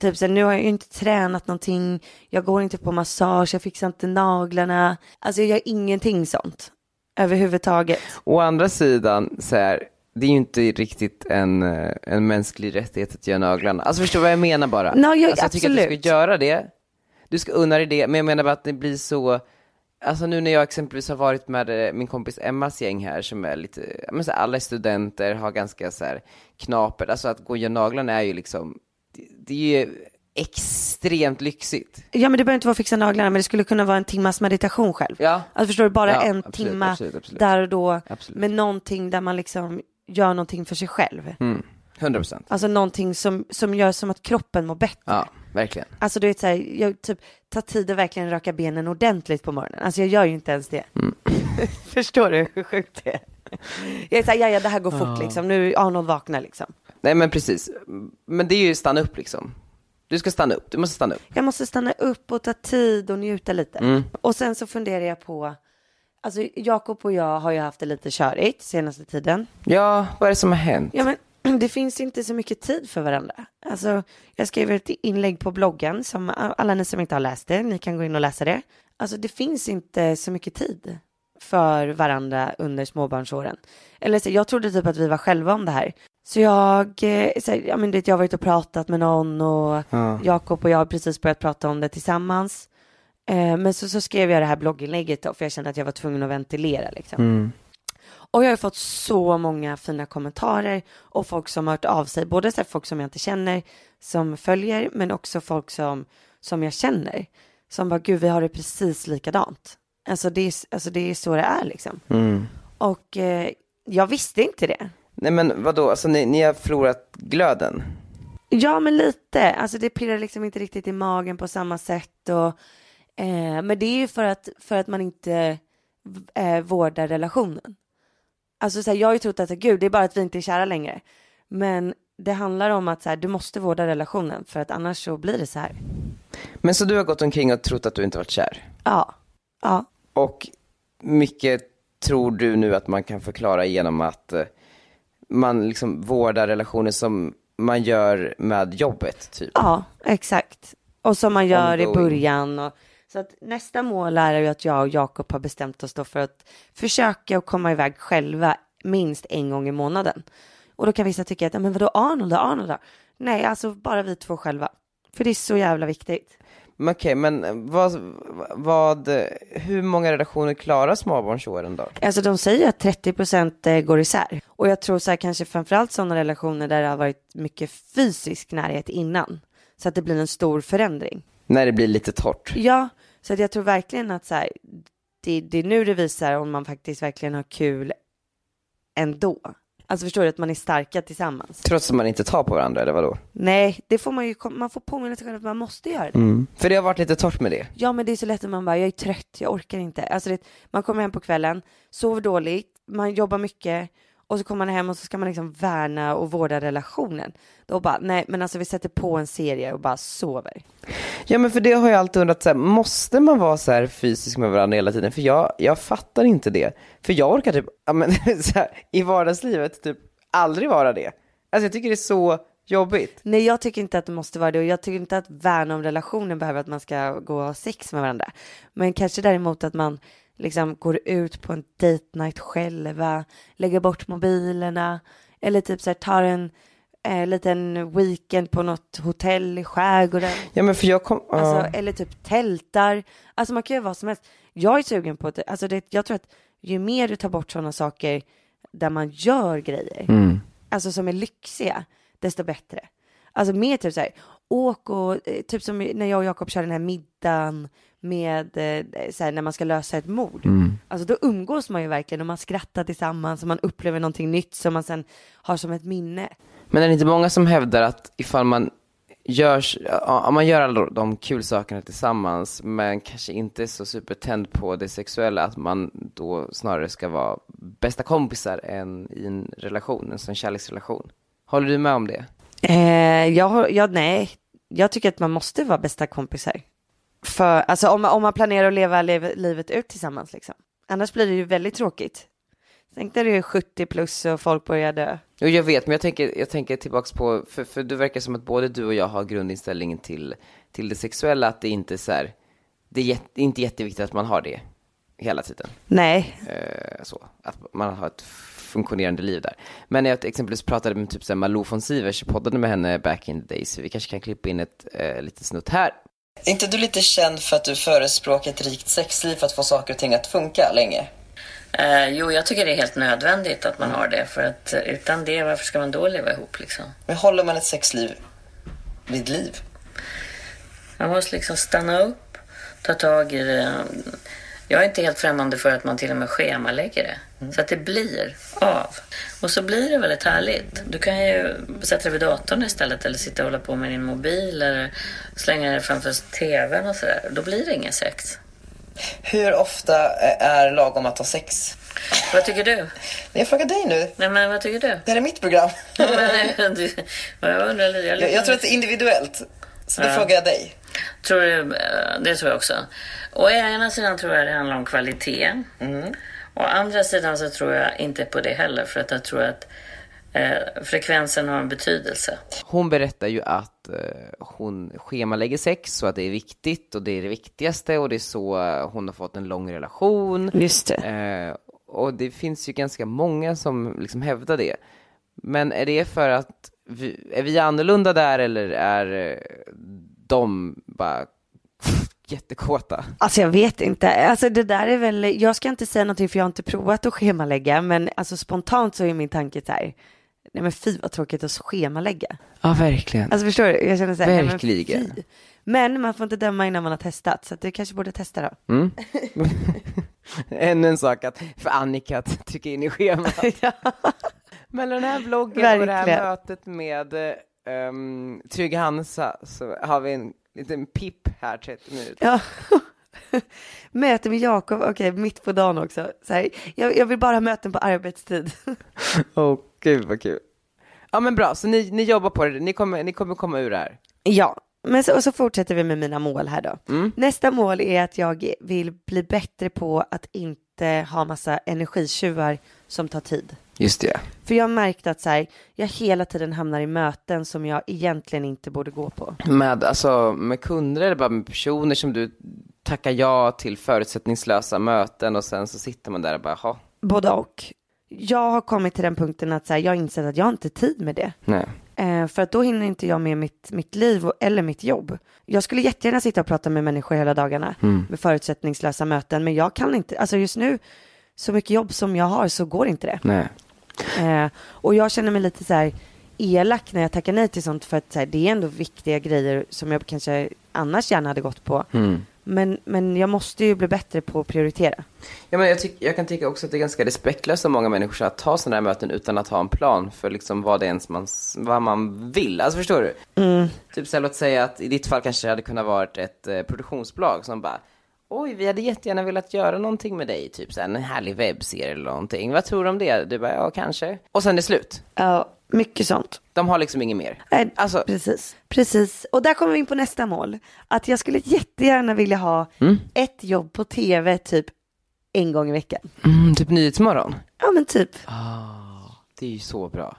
Speaker 4: typ så här, nu har jag ju inte tränat någonting, jag går inte på massage, jag fixar inte naglarna, alltså jag gör ingenting sånt överhuvudtaget.
Speaker 3: Å andra sidan, så här, det är ju inte riktigt en, eh, en mänsklig rättighet att göra naglarna. Alltså förstår du vad jag menar bara?
Speaker 4: Nej, jag-
Speaker 3: alltså, jag tycker att du
Speaker 4: absolut.
Speaker 3: ska göra det. Du ska unna dig det, men jag menar bara att det blir så, alltså nu när jag exempelvis har varit med eh, min kompis Emmas gäng här som är lite, ja, men så här, alla är studenter, har ganska så här knapert, alltså att gå och göra naglarna är ju liksom, det, det är ju extremt lyxigt.
Speaker 4: Ja, men det behöver inte vara att fixa naglarna, men det skulle kunna vara en timmas meditation själv.
Speaker 3: Ja.
Speaker 4: Alltså förstår du, bara
Speaker 3: Ja,
Speaker 4: en
Speaker 3: absolut,
Speaker 4: timma
Speaker 3: absolut, absolut.
Speaker 4: där och då
Speaker 3: Absolut.
Speaker 4: med någonting där man liksom gör någonting för sig själv.
Speaker 3: Mm. 100%.
Speaker 4: Alltså någonting som, som gör som att kroppen mår bättre.
Speaker 3: Ja, verkligen.
Speaker 4: Alltså du vet så här, jag typ tar tid att verkligen röka benen ordentligt på morgonen. Alltså jag gör ju inte ens det. Förstår du hur sjukt det är? Jag är såhär, ja ja det här går fort liksom, nu Arnold vaknar liksom.
Speaker 3: Nej men precis, men det är ju stanna upp liksom. Du ska stanna upp, du måste stanna upp.
Speaker 4: Jag måste stanna upp och ta tid och njuta lite.
Speaker 3: Mm.
Speaker 4: Och sen så funderar jag på, alltså Jakob och jag har ju haft det lite körigt senaste tiden.
Speaker 3: Ja, vad är det som har hänt?
Speaker 4: Ja men det finns inte så mycket tid för varandra. Alltså jag skrev ett inlägg på bloggen som alla ni som inte har läst det, ni kan gå in och läsa det. Alltså det finns inte så mycket tid för varandra under småbarnsåren. Eller så, jag trodde typ att vi var själva om det här. Så jag, eh, så, här, ja, men, du vet, jag har varit och pratat med någon och Jakob och jag har precis börjat prata om det tillsammans. Eh, men så, så skrev jag det här blogginlägget då, för jag kände att jag var tvungen att ventilera liksom. Och jag har fått så många fina kommentarer och folk som har hört av sig, både så här folk som jag inte känner som följer, men också folk som, som jag känner. Som bara, gud vi har det precis likadant. Alltså det är, alltså, det är så det är liksom. Och eh, jag visste inte det.
Speaker 3: Nej men vadå, alltså ni, ni har förlorat glöden?
Speaker 4: Ja, men lite. Alltså det pirrar liksom inte riktigt i magen på samma sätt. Och, eh, men det är ju för att, för att man inte eh, vårdar relationen. Alltså så här, jag har ju trott att gud, det är bara att vi inte är kära längre. Men det handlar om att så här, du måste vårda relationen för att annars så blir det så här.
Speaker 3: Men så du har gått omkring och trott att du inte varit kär?
Speaker 4: Ja, ja,
Speaker 3: Och mycket tror du nu att man kan förklara genom att eh, man liksom vårdar relationer som man gör med jobbet typ?
Speaker 4: ja, exakt. Och som man gör i
Speaker 3: Ongoing.
Speaker 4: början. Och, så att nästa mål är ju att jag och Jakob har bestämt oss då för att försöka att komma iväg själva minst en gång i månaden. Och då kan vissa tycka att, "Ja, men vadå Arnold då, Arnold då? Nej, alltså bara vi två själva. För det är så jävla viktigt.
Speaker 3: Men okej, men vad, vad, hur många relationer klarar småbarnsåren då?
Speaker 4: Alltså de säger att 30 procent eh, går isär. Och jag tror så här kanske framförallt sådana relationer där det har varit mycket fysisk närhet innan. Så att det blir en stor förändring.
Speaker 3: När det blir lite torrt?
Speaker 4: Ja, så att jag tror verkligen att så här, det, det är nu det visar om man faktiskt verkligen har kul ändå. Alltså förstår du att man är starka tillsammans?
Speaker 3: Trots att man inte tar på varandra eller vadå?
Speaker 4: Nej, det får man ju, kom- man får påminna sig själv att man måste göra
Speaker 3: Mm.
Speaker 4: det.
Speaker 3: För det har varit lite torrt med det.
Speaker 4: Ja men det är så lätt att man bara, jag är trött, jag orkar inte. Alltså det, man kommer hem på kvällen, sover dåligt, man jobbar mycket och så kommer man hem och så ska man liksom värna och vårda relationen. Då bara, nej men alltså vi sätter på en serie och bara sover.
Speaker 3: Ja men för det har jag alltid undrat, så här, måste man vara så här fysisk med varandra hela tiden? För jag, jag fattar inte det. För jag orkar typ, ja, men, så här, i vardagslivet, typ aldrig vara det. Alltså jag tycker det är så jobbigt.
Speaker 4: Nej, jag tycker inte att det måste vara det och jag tycker inte att värna om relationen behöver att man ska gå och ha sex med varandra. Men kanske däremot att man liksom går ut på en date night själva, lägger bort mobilerna eller typ så här tar en eh, liten weekend på något hotell i skärgården.
Speaker 3: Ja men för jag kom, ja.
Speaker 4: Alltså, Eller typ tältar. Alltså man kan ju vad som helst. Jag är sugen på att, alltså det, jag tror att ju mer du tar bort sådana saker där man gör grejer, alltså som är lyxiga, desto bättre. Alltså mer typ så här, åk och, eh, typ som när jag och Jakob kör den här middagen med, eh, så här, när man ska lösa ett mord. Alltså då umgås man ju verkligen och man skrattar tillsammans och man upplever någonting nytt som man sen har som ett minne.
Speaker 3: Men är det inte många som hävdar att ifall man gör, ja, om man gör alla de kul sakerna tillsammans men kanske inte är så supertänd på det sexuella att man då snarare ska vara bästa kompisar än i en relation, en sån kärleksrelation. Håller du med om det?
Speaker 4: Eh, jag, har- jag, nej, jag tycker att man måste vara bästa kompisar. För, alltså om, man- om man planerar att leva lev- livet ut tillsammans liksom. Annars blir det ju väldigt tråkigt. Tänk när du är 70 plus och folk börjar dö.
Speaker 3: Jo, jag vet, men jag tänker, jag tänker tillbaks på, för, för det verkar som att både du och jag har grundinställningen till, till det sexuella, att det inte är så här, det är jätte, inte jätteviktigt att man har det hela tiden.
Speaker 4: Nej,
Speaker 3: Eh, så, att man har ett funktionerande liv där. Men när jag till exempelvis pratade med typ så här Malou von Sivers, jag poddade med henne back in the days, så vi kanske kan klippa in ett eh, litet snutt här. Är inte du lite känd för att du förespråkar ett rikt sexliv för att få saker och ting att funka länge?
Speaker 7: Eh, jo, jag tycker det är helt nödvändigt att man har det. För att eh, utan det, varför ska man då leva ihop liksom?
Speaker 3: Men håller man ett sexliv vid liv?
Speaker 7: Man måste liksom stanna upp, ta tag i det. Jag är inte helt främmande för att man till och med schemalägger det.
Speaker 3: Mm.
Speaker 7: Så att det blir av. Och så blir det väldigt härligt. Du kan ju sätta dig vid datorn istället eller sitta och hålla på med din mobil eller slänga dig framför TVn och sådär. Då blir det ingen sex.
Speaker 3: Hur ofta är lagom att ha sex?
Speaker 7: Vad tycker du?
Speaker 3: Jag frågar dig nu.
Speaker 7: Nej, men vad tycker du?
Speaker 3: Det här är mitt program.
Speaker 7: Ja, men, eh, du jag undrar lite. Jag,
Speaker 3: det är individuellt. Så då
Speaker 7: Ja. frågar
Speaker 3: jag dig.
Speaker 7: Tror du, eh, det tror jag också. Å ena sidan tror jag det handlar om kvalitet. Mm. Å andra sidan så tror jag inte på det heller för att jag tror att eh, frekvensen har en betydelse.
Speaker 3: Hon berättar ju att eh, hon schemalägger sex så att det är viktigt och det är det viktigaste och det är så eh, hon har fått en lång relation.
Speaker 4: just det.
Speaker 3: Eh, och det finns ju ganska många som liksom hävdar det. Men är det för att vi, är vi annorlunda där eller är eh, de bara jättekåta?
Speaker 4: Alltså jag vet inte. Alltså det där är väl, jag ska inte säga någonting för jag har inte provat att schemalägga, men alltså spontant så är min tanke så här, nej men fy vad tråkigt att schemalägga.
Speaker 3: Ja, verkligen.
Speaker 4: Alltså förstår du? Jag känner så här, nej, men
Speaker 3: Verkligen.
Speaker 4: fy. Men man får inte döma innan man har testat, så att du kanske borde testa då.
Speaker 3: Ännu en sak att, för Annika att trycka in i schemat. Men den här bloggen och det här
Speaker 4: Verkligen.
Speaker 3: mötet med eh, um, Trygg Hansa så har vi en liten pipp här 30 minuter.
Speaker 4: Ja. Möte med Jakob, okej, mitt på dagen också. Så här, jag, jag vill bara ha möten på arbetstid.
Speaker 3: Åh gud vad kul. Ja men bra, så ni, ni jobbar på det, ni kommer, ni kommer komma ur det här.
Speaker 4: Ja, men så, och så fortsätter vi med mina mål här då. Nästa mål är att jag vill bli bättre på att inte ha massa energitjuvar som tar tid.
Speaker 3: Just det.
Speaker 4: För jag har märkt att så här, jag hela tiden hamnar i möten som jag egentligen inte borde gå på.
Speaker 3: Med, alltså, med kunder eller bara med personer som du tackar ja till förutsättningslösa möten och sen så sitter man där och bara, jaha,
Speaker 4: Både och. Jag har kommit till den punkten att så här, jag har insett att jag har inte tid med det.
Speaker 3: nej.
Speaker 4: Eh, för att då hinner inte jag med mitt, mitt liv och, eller mitt jobb. Jag skulle jättegärna sitta och prata med människor hela dagarna med förutsättningslösa möten, men jag kan inte, alltså just nu, så mycket jobb som jag har så går inte det.
Speaker 3: Nej.
Speaker 4: Eh, och jag känner mig lite så här elak när jag tackar nej till sånt för att så här, det är ändå viktiga grejer som jag kanske annars gärna hade gått på. Men, men jag måste ju bli bättre på att prioritera.
Speaker 3: Ja, men jag, tyck, jag kan tycka också att det är ganska respektlöst av många människor att ta sådana här möten utan att ha en plan för liksom vad det är ens man, s- vad man vill. Alltså förstår du? Typ så här, låt säga att i ditt fall kanske det hade kunnat vara ett eh, produktionsbolag som bara Oj, vi hade jättegärna velat göra någonting med dig, typ så här, en härlig webbserie eller någonting. Vad tror du om det? Du bara, ja kanske. Och sen är det slut.
Speaker 4: Ja, mycket sånt.
Speaker 3: De har liksom inget mer.
Speaker 8: Eh,
Speaker 4: Nej,
Speaker 3: Alltså-
Speaker 4: precis. Precis. Och där kommer vi in på nästa mål. Att jag skulle jättegärna vilja ha
Speaker 8: Mm.
Speaker 4: ett jobb på tv typ en gång i veckan.
Speaker 3: Mm, typ Nyhetsmorgon.
Speaker 4: Ja men typ.
Speaker 3: Det är ju så bra.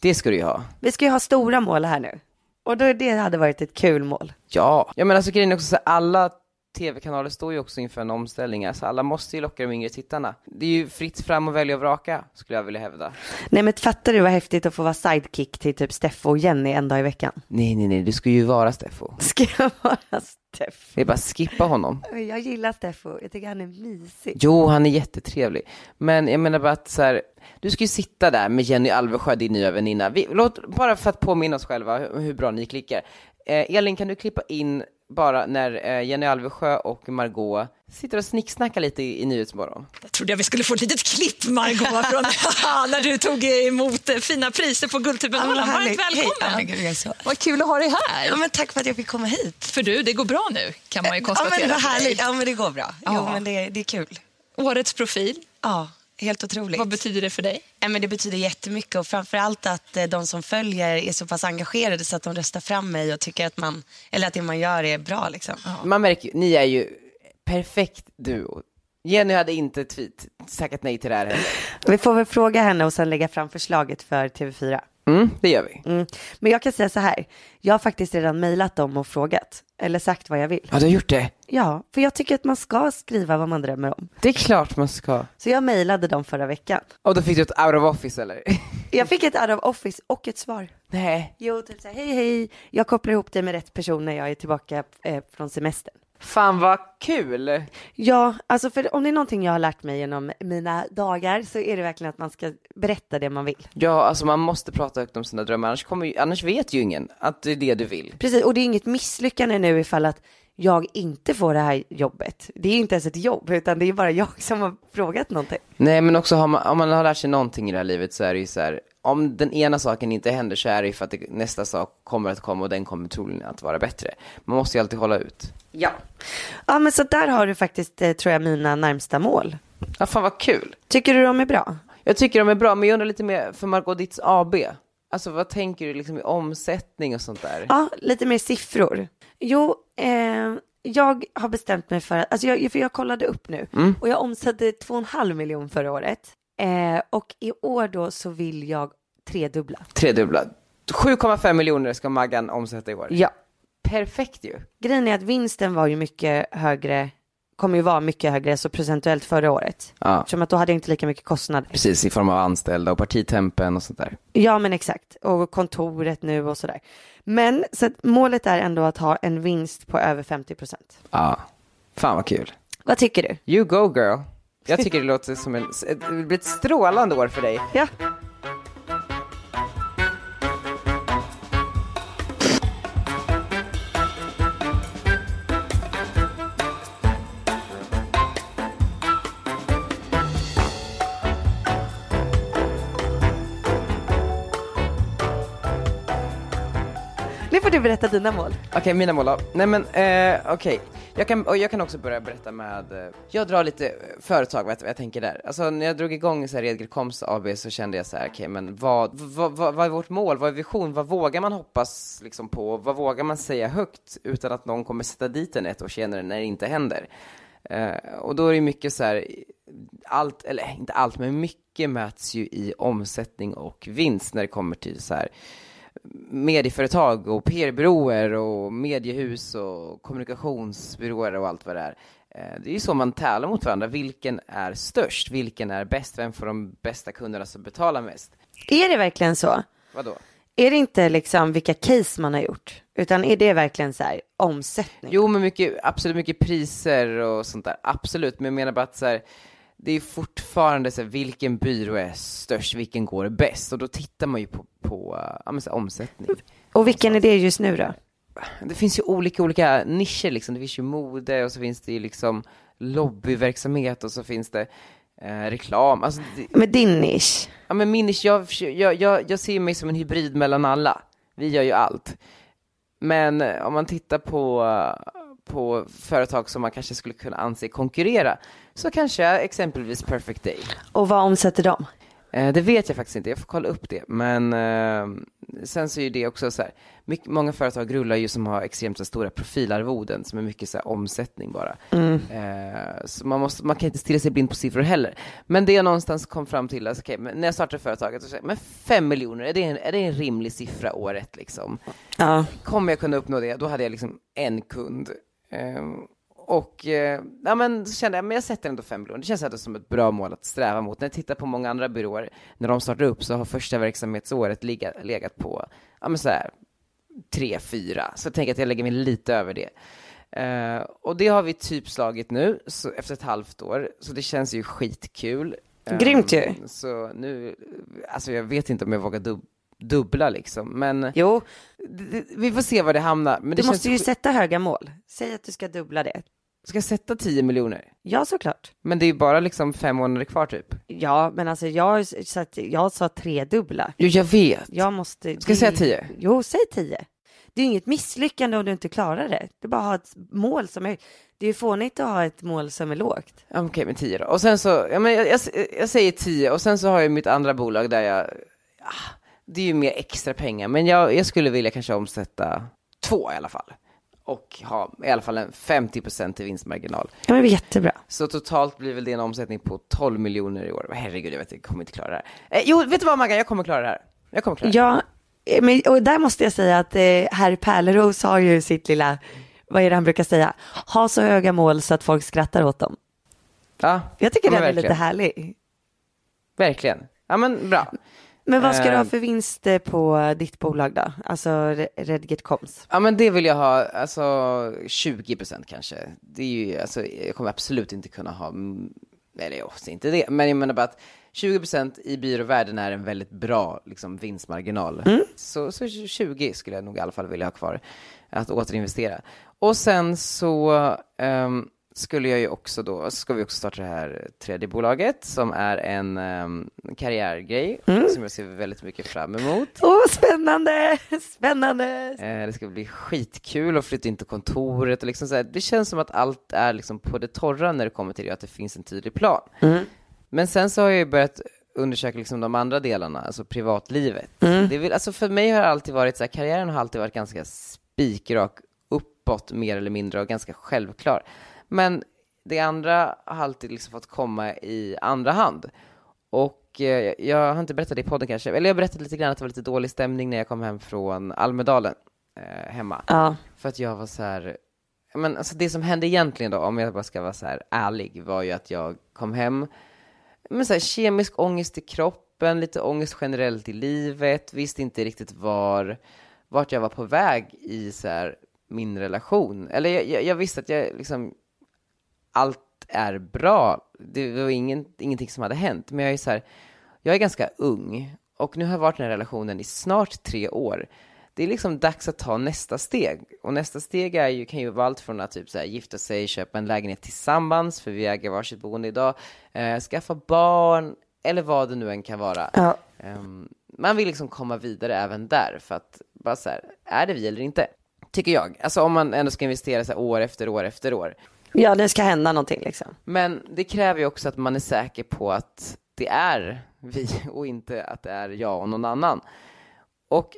Speaker 3: Det ska du ju ha.
Speaker 4: Vi ska ju ha stora mål här nu. Och då, det hade varit ett kul mål.
Speaker 3: Ja, ja men alltså grejen är också så här, alla tv-kanaler står ju också inför en omställning, alltså alla måste ju locka de yngre tittarna. Det är ju fritt fram och välja och vraka, skulle jag vilja hävda.
Speaker 4: Nej men fattar du vad häftigt att få vara sidekick till typ Steffo och Jenny en dag i veckan?
Speaker 3: Nej, nej, nej, du ska ju vara Steffo.
Speaker 4: Ska jag vara Steffo?
Speaker 3: Det är bara att skippa honom.
Speaker 4: Jag gillar Steffo, jag tycker han är mysig.
Speaker 3: Jo, han är jättetrevlig. Men jag menar bara att så här, du ska ju sitta där med Jenny Alvesjö, din nya väninna. Vi, låt, bara för att påminna oss själva hur, hur bra ni klickar. Eh, Elin, kan du klippa in bara när eh, Jenny Alvesjö och Margot sitter och snicksnackar lite i, i Nyhetsmorgon?
Speaker 8: Jag trodde jag vi skulle få ett litet klipp, Margot, från när du tog emot eh, fina priser på Guldtuben.
Speaker 2: Ja, vad
Speaker 8: Ola, Varmt
Speaker 2: härligt. Hej,
Speaker 8: välkommen!
Speaker 2: ja, gud, jag är så-
Speaker 8: Vad kul att ha dig här.
Speaker 2: Ja men tack för att jag fick komma hit.
Speaker 8: För du, det går bra nu, kan man ju konstatera.
Speaker 2: Ja men vad
Speaker 8: för dig.
Speaker 2: härligt, ja men det går bra. Jo
Speaker 8: Ja.
Speaker 2: men det, det är kul.
Speaker 8: Årets profil.
Speaker 2: Ja,
Speaker 9: Helt otroligt.
Speaker 10: Vad betyder det för dig?
Speaker 9: Ja, men det betyder jättemycket och framförallt att eh, de som följer är så pass engagerade så att de röstar fram mig och tycker att, man, eller att det man gör är bra. Liksom.
Speaker 3: Man märker ju, ni är ju perfekt duo. Jenny hade inte tweet, tackat nej till det här heller.
Speaker 4: Vi får väl fråga henne och sen lägga fram förslaget för TV4.
Speaker 3: Mm, det gör vi.
Speaker 4: Mm. Men jag kan säga så här, jag har faktiskt redan mejlat dem och frågat, eller sagt vad jag vill.
Speaker 3: Ja, du har gjort det?
Speaker 4: Ja, för jag tycker att man ska skriva vad man drömmer om.
Speaker 3: Det är klart man ska.
Speaker 4: Så jag mejlade dem förra veckan.
Speaker 3: Och då fick du ett out of office eller?
Speaker 4: Jag fick ett out of office och ett svar.
Speaker 3: Nej.
Speaker 4: Jo, typ så här, hej hej, jag kopplar ihop dig med rätt person när jag är tillbaka eh, från semestern.
Speaker 3: Fan vad kul!
Speaker 4: Ja, alltså för om det är någonting jag har lärt mig genom mina dagar så är det verkligen att man ska berätta det man vill.
Speaker 3: Ja, alltså man måste prata högt om sina drömmar, annars, kommer, ju- annars vet ju ingen att det är det du vill.
Speaker 4: Precis, och det är inget misslyckande nu ifall att jag inte får det här jobbet. Det är inte ens ett jobb, utan det är bara jag som har frågat någonting.
Speaker 3: Nej, men också har man, om man har lärt sig någonting i det här livet så är det ju så här, om den ena saken inte händer så är det ju för att det, nästa sak kommer att komma och den kommer troligen att vara bättre. Man måste ju alltid hålla ut.
Speaker 4: Ja. Ja, men så där har du faktiskt, eh, tror jag, mina närmsta mål.
Speaker 3: Ja, fan vad kul.
Speaker 4: Tycker du de är bra?
Speaker 3: Jag tycker de är bra, men jag undrar lite mer för Margot Ditts AB. Alltså vad tänker du liksom i omsättning och sånt där?
Speaker 4: Ja, lite mer siffror. Jo, eh, jag har bestämt mig för att, alltså jag, för jag kollade upp nu
Speaker 3: Mm.
Speaker 4: och jag omsatte 2,5 miljon förra året. Eh, och i år då så vill jag tredubbla.
Speaker 3: Tredubbla. 7,5 miljoner ska Maggan omsätta i år.
Speaker 4: Ja.
Speaker 3: Perfekt ju.
Speaker 4: Grejen är att vinsten var ju mycket högre, kommer ju vara mycket högre så procentuellt förra året.
Speaker 3: Ja.
Speaker 4: Eftersom att då hade jag inte lika mycket kostnader.
Speaker 3: Precis, i form av anställda och partitempen och sånt där.
Speaker 4: Ja men exakt, och kontoret nu och sådär. Men så att målet är ändå att ha en vinst på över 50 procent.
Speaker 3: Ja. Fan vad kul.
Speaker 4: Vad tycker du?
Speaker 3: You go girl. Jag tycker det låter som en, ett, det blir ett strålande år för dig.
Speaker 4: Ja. Nu får du berätta dina mål.
Speaker 3: Okej, mina mål då. Nej men eh, okej. Jag, kan, och jag kan också börja berätta med, eh, jag drar lite eh, företag, vad jag, vad jag tänker där. Alltså när jag drog igång så här Edgren Koms AB så kände jag så här, okej men vad, vad, vad, vad är vårt mål, vad är vision, vad vågar man hoppas liksom på, vad vågar man säga högt utan att någon kommer sätta dit en ett år senare när det inte händer. Eh, och då är det mycket så här, allt, eller inte allt, men mycket mäts ju i omsättning och vinst när det kommer till så här medieföretag och PR-byråer och mediehus och kommunikationsbyråer och allt vad det är. Eh, Det är ju så man tävlar mot varandra. Vilken är störst? Vilken är bäst? Vem får de bästa kunderna som betalar mest?
Speaker 4: Är det verkligen så?
Speaker 3: Vadå?
Speaker 4: Är det inte liksom vilka case man har gjort? Utan är det verkligen så här omsättning?
Speaker 3: Jo, men mycket, absolut mycket priser och sånt där. Absolut, men jag menar bara att så här, det är fortfarande så här, vilken byrå är störst? Vilken går bäst? Och då tittar man ju på, på eh, ja, men så här, omsättning.
Speaker 4: Och vilken är det just nu då?
Speaker 3: det finns ju olika, olika nischer liksom. Det finns ju mode och så finns det ju liksom lobbyverksamhet och så finns det eh, reklam. Alltså, det,
Speaker 4: Med din nisch?
Speaker 3: ja men min nisch, jag, försö- jag, jag, jag ser mig som en hybrid mellan alla. Vi gör ju allt. Men eh, om man tittar på, eh, på företag som man kanske skulle kunna anse konkurrera så kanske exempelvis Perfect Day.
Speaker 4: Och vad omsätter de?
Speaker 3: Eh, Det vet jag faktiskt inte, jag får kolla upp det. Men eh, sen så är ju det också så här, mycket, många företag rullar ju som har extremt så stora profilarvoden som är mycket så här omsättning bara.
Speaker 4: Mm.
Speaker 3: Eh, så man, måste, man kan inte stirra sig blind på siffror heller. Men det jag någonstans kom fram till, alltså, okej, men när jag startade företaget, så sa jag, men fem miljoner, är det, en, är det en rimlig siffra året liksom?
Speaker 4: Ja.
Speaker 3: Kommer jag kunna uppnå det? Då hade jag liksom en kund. Ehm, och eh, ja, men så kände jag, men jag sätter ändå fem miljoner. Det känns ändå som ett bra mål att sträva mot. När jag tittar på många andra byråer, när de startar upp så har första verksamhetsåret ligga, legat på, ja men så här, tre, fyra. Så jag tänker att jag lägger mig lite över det. Eh, och det har vi typ slagit nu, så efter ett halvt år. Så det känns ju skitkul. Ehm,
Speaker 4: Grymt ju.
Speaker 3: Så nu, alltså jag vet inte om jag vågar dub- dubbla liksom, men
Speaker 4: Jo,
Speaker 3: d- d- vi får se var det hamnar. Men det
Speaker 4: du måste
Speaker 3: känns
Speaker 4: ju
Speaker 3: sk-
Speaker 4: sätta höga mål. Säg att du ska dubbla det.
Speaker 3: Ska jag sätta 10 miljoner?
Speaker 4: Ja, såklart.
Speaker 3: Men det är ju bara liksom fem månader kvar typ.
Speaker 4: Ja, men alltså jag, har ju satt, jag sa tredubbla.
Speaker 3: Jo, jag vet.
Speaker 4: Jag måste...
Speaker 3: Ska jag
Speaker 4: det-
Speaker 3: säga 10?
Speaker 4: Jo, säg tio. Det är ju inget misslyckande om du inte klarar det. Det är bara att ha ett mål som är... Det är ju fånigt att ha ett mål som är lågt.
Speaker 3: Ja, Okej, men tio då. Och sen så, ja, men jag, jag, jag säger tio och sen så har jag mitt andra bolag där jag, ah, det är ju mer extra pengar, men jag, jag skulle vilja kanske omsätta två i alla fall. Och ha i alla fall en 50 i vinstmarginal.
Speaker 4: Ja, men det är jättebra.
Speaker 3: Så totalt blir väl det en omsättning på 12 miljoner i år. Herregud, jag vet jag kommer inte klara det här. Eh, jo, vet du vad Maggan, jag kommer klara det här. Jag kommer klara det.
Speaker 4: Ja, eh, men, och där måste jag säga att eh, herr Pärleros har ju sitt lilla, vad är det han brukar säga? Ha så höga mål så att folk skrattar åt dem.
Speaker 3: Ja,
Speaker 4: Jag tycker
Speaker 3: men
Speaker 4: den är lite
Speaker 3: verkligen.
Speaker 4: härlig.
Speaker 3: Verkligen. Ja, men bra.
Speaker 4: Men vad ska du ha
Speaker 3: Eh,
Speaker 4: för vinst eh, på ditt bolag då? Alltså Re- Redgert Koms.
Speaker 3: Ja men det vill jag ha, alltså 20 procent kanske. Det är ju, alltså, jag kommer absolut inte kunna ha, mm, eller jag också inte det, men jag menar bara att 20 procent i byråvärlden är en väldigt bra liksom, vinstmarginal. Så, så 20 skulle jag nog i alla fall vilja ha kvar att återinvestera. Och sen så ehm, skulle jag ju också då, ska vi också starta det här tredje bolaget som är en ehm, karriärgrej som jag ser väldigt mycket fram emot.
Speaker 4: Åh, spännande, spännande.
Speaker 3: Eh, Det ska bli skitkul att flytta in till kontoret och liksom så här, det känns som att allt är liksom på det torra när det kommer till det, att det finns en tydlig plan. Men sen så har jag ju börjat undersöka liksom de andra delarna, alltså privatlivet. Det vill, alltså för mig har det alltid varit så här, karriären har alltid varit ganska spikrak uppåt mer eller mindre och ganska självklar. Men det andra har alltid liksom fått komma i andra hand. Och eh, jag har inte berättat det i podden kanske, eller jag berättade lite grann att det var lite dålig stämning när jag kom hem från Almedalen eh, hemma.
Speaker 4: Ja.
Speaker 3: För att jag var så här, ja, men alltså det som hände egentligen då, om jag bara ska vara så här ärlig, var ju att jag kom hem med så här kemisk ångest i kroppen, lite ångest generellt i livet, visste inte riktigt var, vart jag var på väg i så här min relation. Eller jag, jag, jag visste att jag liksom, allt är bra. Det var ingen, ingenting som hade hänt. Men jag är så här, jag är ganska ung och nu har jag varit i den här relationen i snart tre år. Det är liksom dags att ta nästa steg. Och nästa steg är ju, kan ju vara allt från att typ så här, gifta sig, köpa en lägenhet tillsammans, för vi äger varsitt boende idag, eh, skaffa barn, eller vad det nu än kan vara.
Speaker 4: Ja.
Speaker 3: Ehm, man vill liksom komma vidare även där för att bara så här, är det vi eller inte? Tycker jag. Alltså om man ändå ska investera så här år efter år efter år.
Speaker 4: ja, det ska hända någonting liksom.
Speaker 3: Men det kräver ju också att man är säker på att det är vi och inte att det är jag och någon annan. Och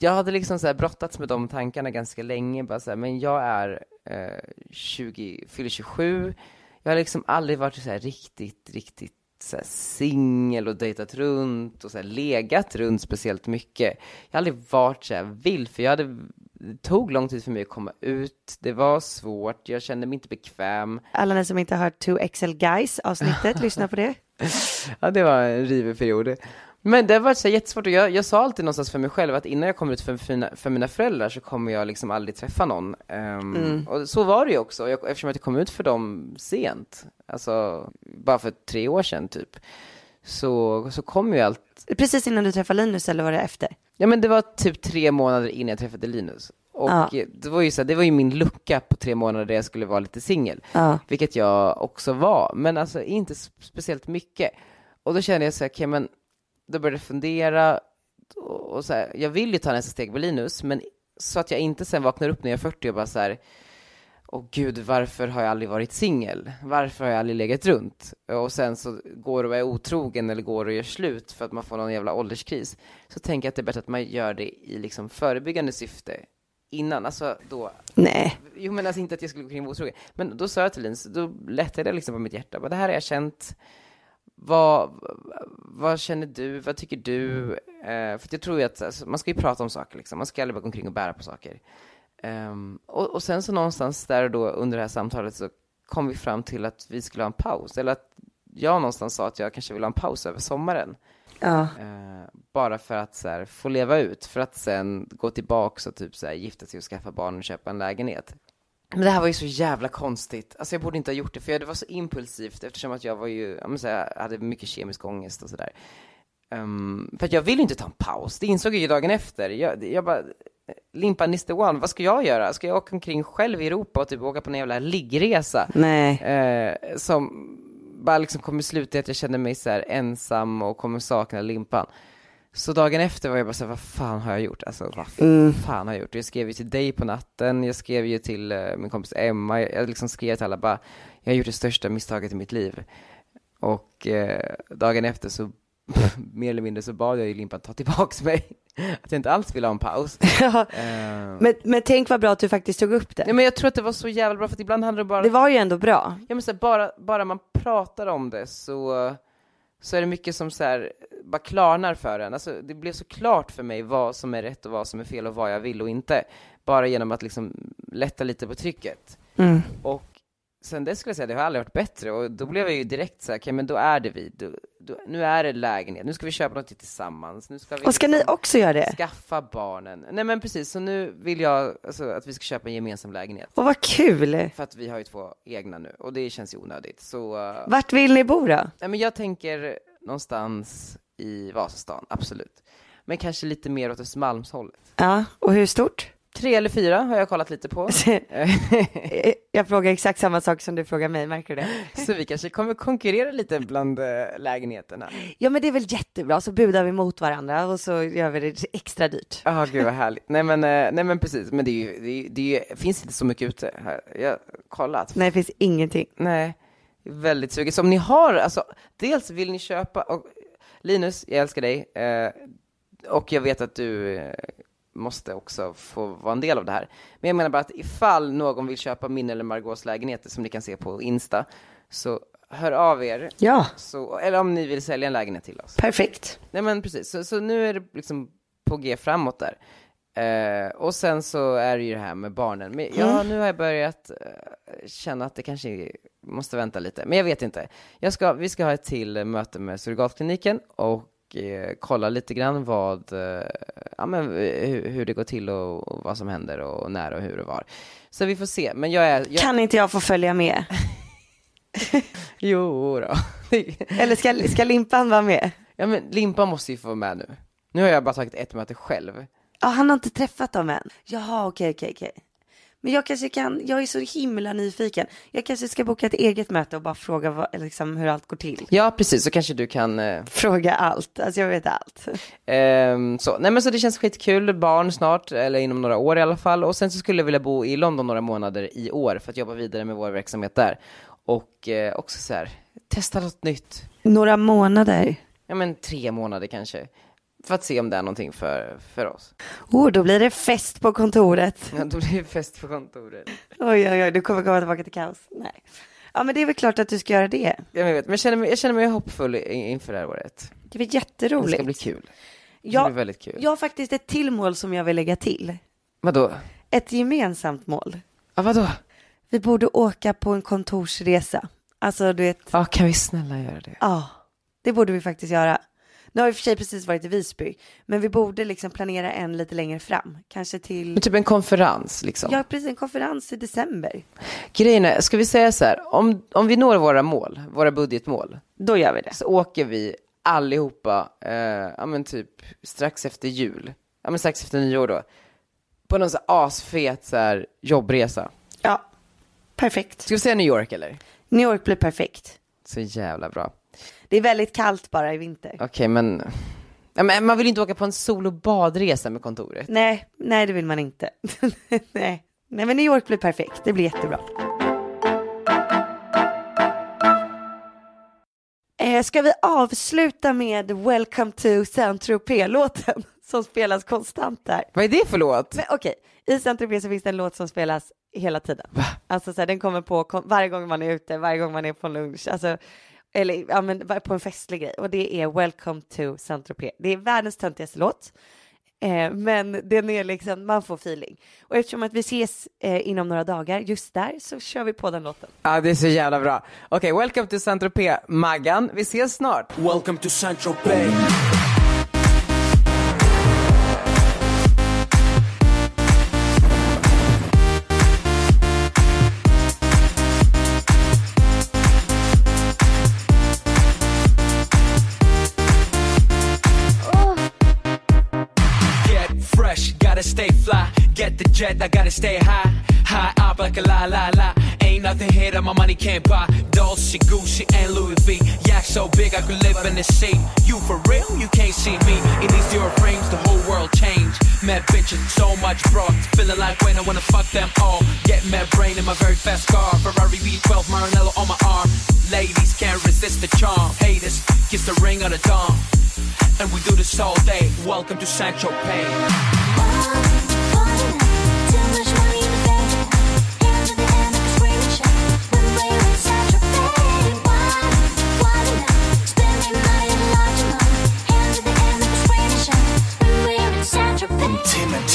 Speaker 3: jag hade liksom så här brottats med de tankarna ganska länge, bara så här, men jag är eh, 20, fyller 27, jag har liksom aldrig varit så här riktigt, riktigt så här singel och dejtat runt och så här legat runt speciellt mycket. Jag har aldrig varit så här vill, för jag hade, det tog lång tid för mig att komma ut, det var svårt, jag kände mig inte bekväm.
Speaker 4: Alla ni som inte har hört 2XL Guys avsnittet, lyssna på det.
Speaker 3: Ja, det var en rivig period. Men det var så här jättesvårt och jag, jag sa alltid någonstans för mig själv att innan jag kommer ut för, fina, för mina föräldrar så kommer jag liksom aldrig träffa någon. Ehm,
Speaker 4: Mm.
Speaker 3: Och så var det ju också, jag, eftersom att jag kom ut för dem sent, alltså bara för tre år sedan typ, så, så kom ju allt
Speaker 4: Precis innan du träffade Linus eller var det efter?
Speaker 3: Ja men det var typ tre månader innan jag träffade Linus. Och
Speaker 4: Ja.
Speaker 3: eh, det, var ju så här, det var ju min lucka på tre månader där jag skulle vara lite singel.
Speaker 4: Ja.
Speaker 3: Vilket jag också var, men alltså inte s- speciellt mycket. Och då kände jag så här, okej men, då började jag fundera. Och och så här, jag vill ju ta nästa steg med Linus, men så att jag inte sen vaknar upp när jag är 40 och bara så här, åh gud, varför har jag aldrig varit singel? Varför har jag aldrig legat runt? Och sen så går och är otrogen eller går och gör slut för att man får någon jävla ålderskris. Så tänker jag att det är bättre att man gör det i liksom förebyggande syfte innan, alltså då.
Speaker 4: Nej.
Speaker 3: Jo men alltså inte att jag skulle gå kring och vara otrogen. Men då sa jag till Linus, då lättade det liksom på mitt hjärta, bara, det här har jag känt, vad, vad känner du, vad tycker du? Eh, för att jag tror ju att alltså, man ska ju prata om saker, liksom. man ska aldrig bara gå omkring och bära på saker. Ehm, och, och sen så någonstans där och då under det här samtalet så kom vi fram till att vi skulle ha en paus, eller att jag någonstans sa att jag kanske vill ha en paus över sommaren.
Speaker 4: Ja.
Speaker 3: Eh, bara för att så här, få leva ut, för att sen gå tillbaks och typ så här, gifta sig och skaffa barn och köpa en lägenhet. Men det här var ju så jävla konstigt. Alltså jag borde inte ha gjort det, för jag, det var så impulsivt eftersom att jag var ju, jag, så här, hade mycket kemisk ångest och sådär. Ehm, för att jag vill ju inte ta en paus, det insåg jag ju dagen efter. Jag, jag bara, "Eh, limpan is the one, vad ska jag göra? Ska jag åka omkring själv i Europa och typ åka på en jävla liggresa?
Speaker 4: Nej.
Speaker 3: Eh, som bara liksom kommer sluta i att jag känner mig så här ensam och kommer sakna limpan. Så dagen efter var jag bara såhär, vad fan har jag gjort? Alltså vad
Speaker 4: Mm.
Speaker 3: fan har jag gjort? Jag skrev ju till dig på natten, jag skrev ju till eh, min kompis Emma, jag, jag liksom skrev till alla bara, jag har gjort det största misstaget i mitt liv. Och eh, dagen efter så, mer eller mindre så bad jag ju Limpan ta tillbaks mig. Att jag inte alls ville ha en paus. Eh,
Speaker 4: Men, men tänk vad bra att du faktiskt tog upp det.
Speaker 3: Nej men jag tror att det var så jävla bra för att ibland handlar det bara
Speaker 4: Det var ju ändå bra.
Speaker 3: Ja men så här, bara, bara man pratar om det så, så är det mycket som så här, bara klarnar för en. Alltså, det blev så klart för mig vad som är rätt och vad som är fel och vad jag vill och inte. Bara genom att liksom lätta lite på trycket.
Speaker 4: Mm.
Speaker 3: Och sen det skulle jag säga, det har aldrig varit bättre och då blev jag ju direkt så här, okej men då är det vi, då, då, nu är det lägenhet, nu ska vi köpa något tillsammans, nu ska vi
Speaker 4: Och ska ni
Speaker 3: liksom-
Speaker 4: också göra det?
Speaker 3: Skaffa barnen. Nej men precis, så nu vill jag alltså, att vi ska köpa en gemensam lägenhet.
Speaker 4: Och vad kul!
Speaker 3: För att vi har ju två egna nu och det känns ju onödigt. Så, eh,
Speaker 4: Vart vill ni bo då?
Speaker 3: nej, men jag tänker någonstans i Vasastan, absolut. Men kanske lite mer åt Östermalmshållet.
Speaker 4: Ja, och hur stort?
Speaker 3: Tre eller fyra har jag kollat lite på.
Speaker 4: Eh, Jag frågar exakt samma sak som du frågar mig, märker du det?
Speaker 3: så vi kanske kommer konkurrera lite bland eh, lägenheterna.
Speaker 4: Ja men det är väl jättebra, så budar vi mot varandra och så gör vi det extra dyrt.
Speaker 3: Ja, gud vad härligt. Nej men, eh, nej, men precis, men det, är ju, det, är, ju- det är, ju- finns inte så mycket ute här. Jag har kollat.
Speaker 4: Nej, det finns ingenting.
Speaker 3: Nej, jag är väldigt sugen. Så om ni har, alltså, dels vill ni köpa, och Linus, jag älskar dig, eh, och jag vet att du eh, måste också få vara en del av det här. Men jag menar bara att ifall någon vill köpa min eller Margaux lägenheter som ni kan se på Insta, så hör av er.
Speaker 4: Ja.
Speaker 3: Så, eller om ni vill sälja en lägenhet till oss.
Speaker 4: Perfekt.
Speaker 3: Nej men precis, så, så nu är det liksom på G framåt där. Eh, och sen så är det ju det här med barnen. Men ja, nu har jag börjat eh, känna att det kanske måste vänta lite. Men jag vet inte. Jag ska, vi ska ha ett till möte med surrogatkliniken och eh, kolla lite grann vad, eh, ja, men, eh, hur, hur det går till och, och vad som händer och när och hur och var. Så vi får se. Men jag är... Jag,
Speaker 4: Kan inte jag få följa med?
Speaker 3: Jo då.
Speaker 4: Eller ska, ska Limpan vara med?
Speaker 3: ja, men Limpan måste ju få vara med nu. Nu har jag bara tagit ett möte själv.
Speaker 4: Ja, han har inte träffat dem än. Jaha, okej, okej, okej. Men jag kanske kan, jag är så himla nyfiken. Jag kanske ska boka ett eget möte och bara fråga vad, eller liksom hur allt går till.
Speaker 3: Ja, precis. Så kanske du kan... Eh,
Speaker 4: Fråga allt, alltså jag vet allt.
Speaker 3: Ehm, så. Nej, men så det känns skitkul, barn snart, eller inom några år i alla fall. Och sen så skulle jag vilja bo i London några månader i år för att jobba vidare med vår verksamhet där. Och eh, också så här, testa något nytt.
Speaker 4: Några månader.
Speaker 3: Ja men tre månader kanske. För att se om det är någonting för, för oss.
Speaker 4: Oh, då blir det fest på kontoret.
Speaker 3: Ja, då blir det fest på kontoret.
Speaker 4: Oj, oj, oj, du kommer komma tillbaka till kaos. Nej. Ja, men det är väl klart att du ska göra det.
Speaker 3: Ja, men jag, vet, men jag, känner mig, jag känner mig hoppfull i- inför det här året.
Speaker 4: Det blir
Speaker 3: Det
Speaker 4: jätteroligt.
Speaker 3: ska bli kul. Det ska
Speaker 4: Ja,
Speaker 3: bli väldigt kul.
Speaker 4: Jag har faktiskt ett till mål som jag vill lägga till.
Speaker 3: Vadå?
Speaker 4: Ett gemensamt mål.
Speaker 3: Ja, vadå?
Speaker 4: Vi borde åka på en kontorsresa. Alltså, du vet,
Speaker 3: Ja, kan vi snälla göra det?
Speaker 4: Ja, det borde vi faktiskt göra. Nu har vi i och för sig precis varit i Visby, men vi borde liksom planera en lite längre fram. Kanske till,
Speaker 3: Men typ en konferens liksom.
Speaker 4: ja precis, en konferens i december.
Speaker 3: Grejen är, ska vi säga så här, om, om vi når våra mål, våra budgetmål,
Speaker 4: Då gör vi det.
Speaker 3: så åker vi allihopa, eh, ja men typ strax efter jul, ja men strax efter nyår då, på någon så här asfet så här jobbresa.
Speaker 4: Ja, perfekt.
Speaker 3: Ska vi säga New York eller?
Speaker 4: New York blir perfekt.
Speaker 3: Så jävla bra.
Speaker 4: Det är väldigt kallt bara i vinter.
Speaker 3: Okej men, ja, men man vill ju inte åka på en sol och badresa med kontoret.
Speaker 4: Nej, nej det vill man inte. nej. nej, men New York blir perfekt. Det blir jättebra. Eh, ska vi avsluta med Welcome to Saint-Tropez-låten som spelas konstant där?
Speaker 3: Vad är det för låt?
Speaker 4: Men okej, i Saint-Tropez så finns det en låt som spelas hela tiden. Alltså så här, den kommer på kom, varje gång man är ute, varje gång man är på en lunch, alltså, eller ja, men, var- på en festlig grej. Och det är Welcome to Saint-Tropez. Det är världens töntigaste låt, eh, men den är liksom, man får feeling. Och eftersom att vi ses eh, inom några dagar just där så kör vi på den låten.
Speaker 3: Ja det är så jävla bra. Okej, welcome to Saint-Tropez, Maggan. Vi ses snart.
Speaker 10: Welcome to Saint Tropez. Get fresh, gotta stay fly.
Speaker 11: get the jet, I gotta stay high. High up like a la la la. Ain't nothing here that my money can't buy. Dolce, Gucci, and Louis V. Yak so big I could live in the sea. You for real? You can't see me. In these zero frames, the whole world changed. Mad bitches, so much bro. Feeling like when I wanna fuck them all. Get mad brain in my very fast car. Ferrari V12, Maranello on my arm. Ladies can't resist the charm. Haters, kiss the ring of the dawn. And we do this all day. Welcome to Sancho Payne.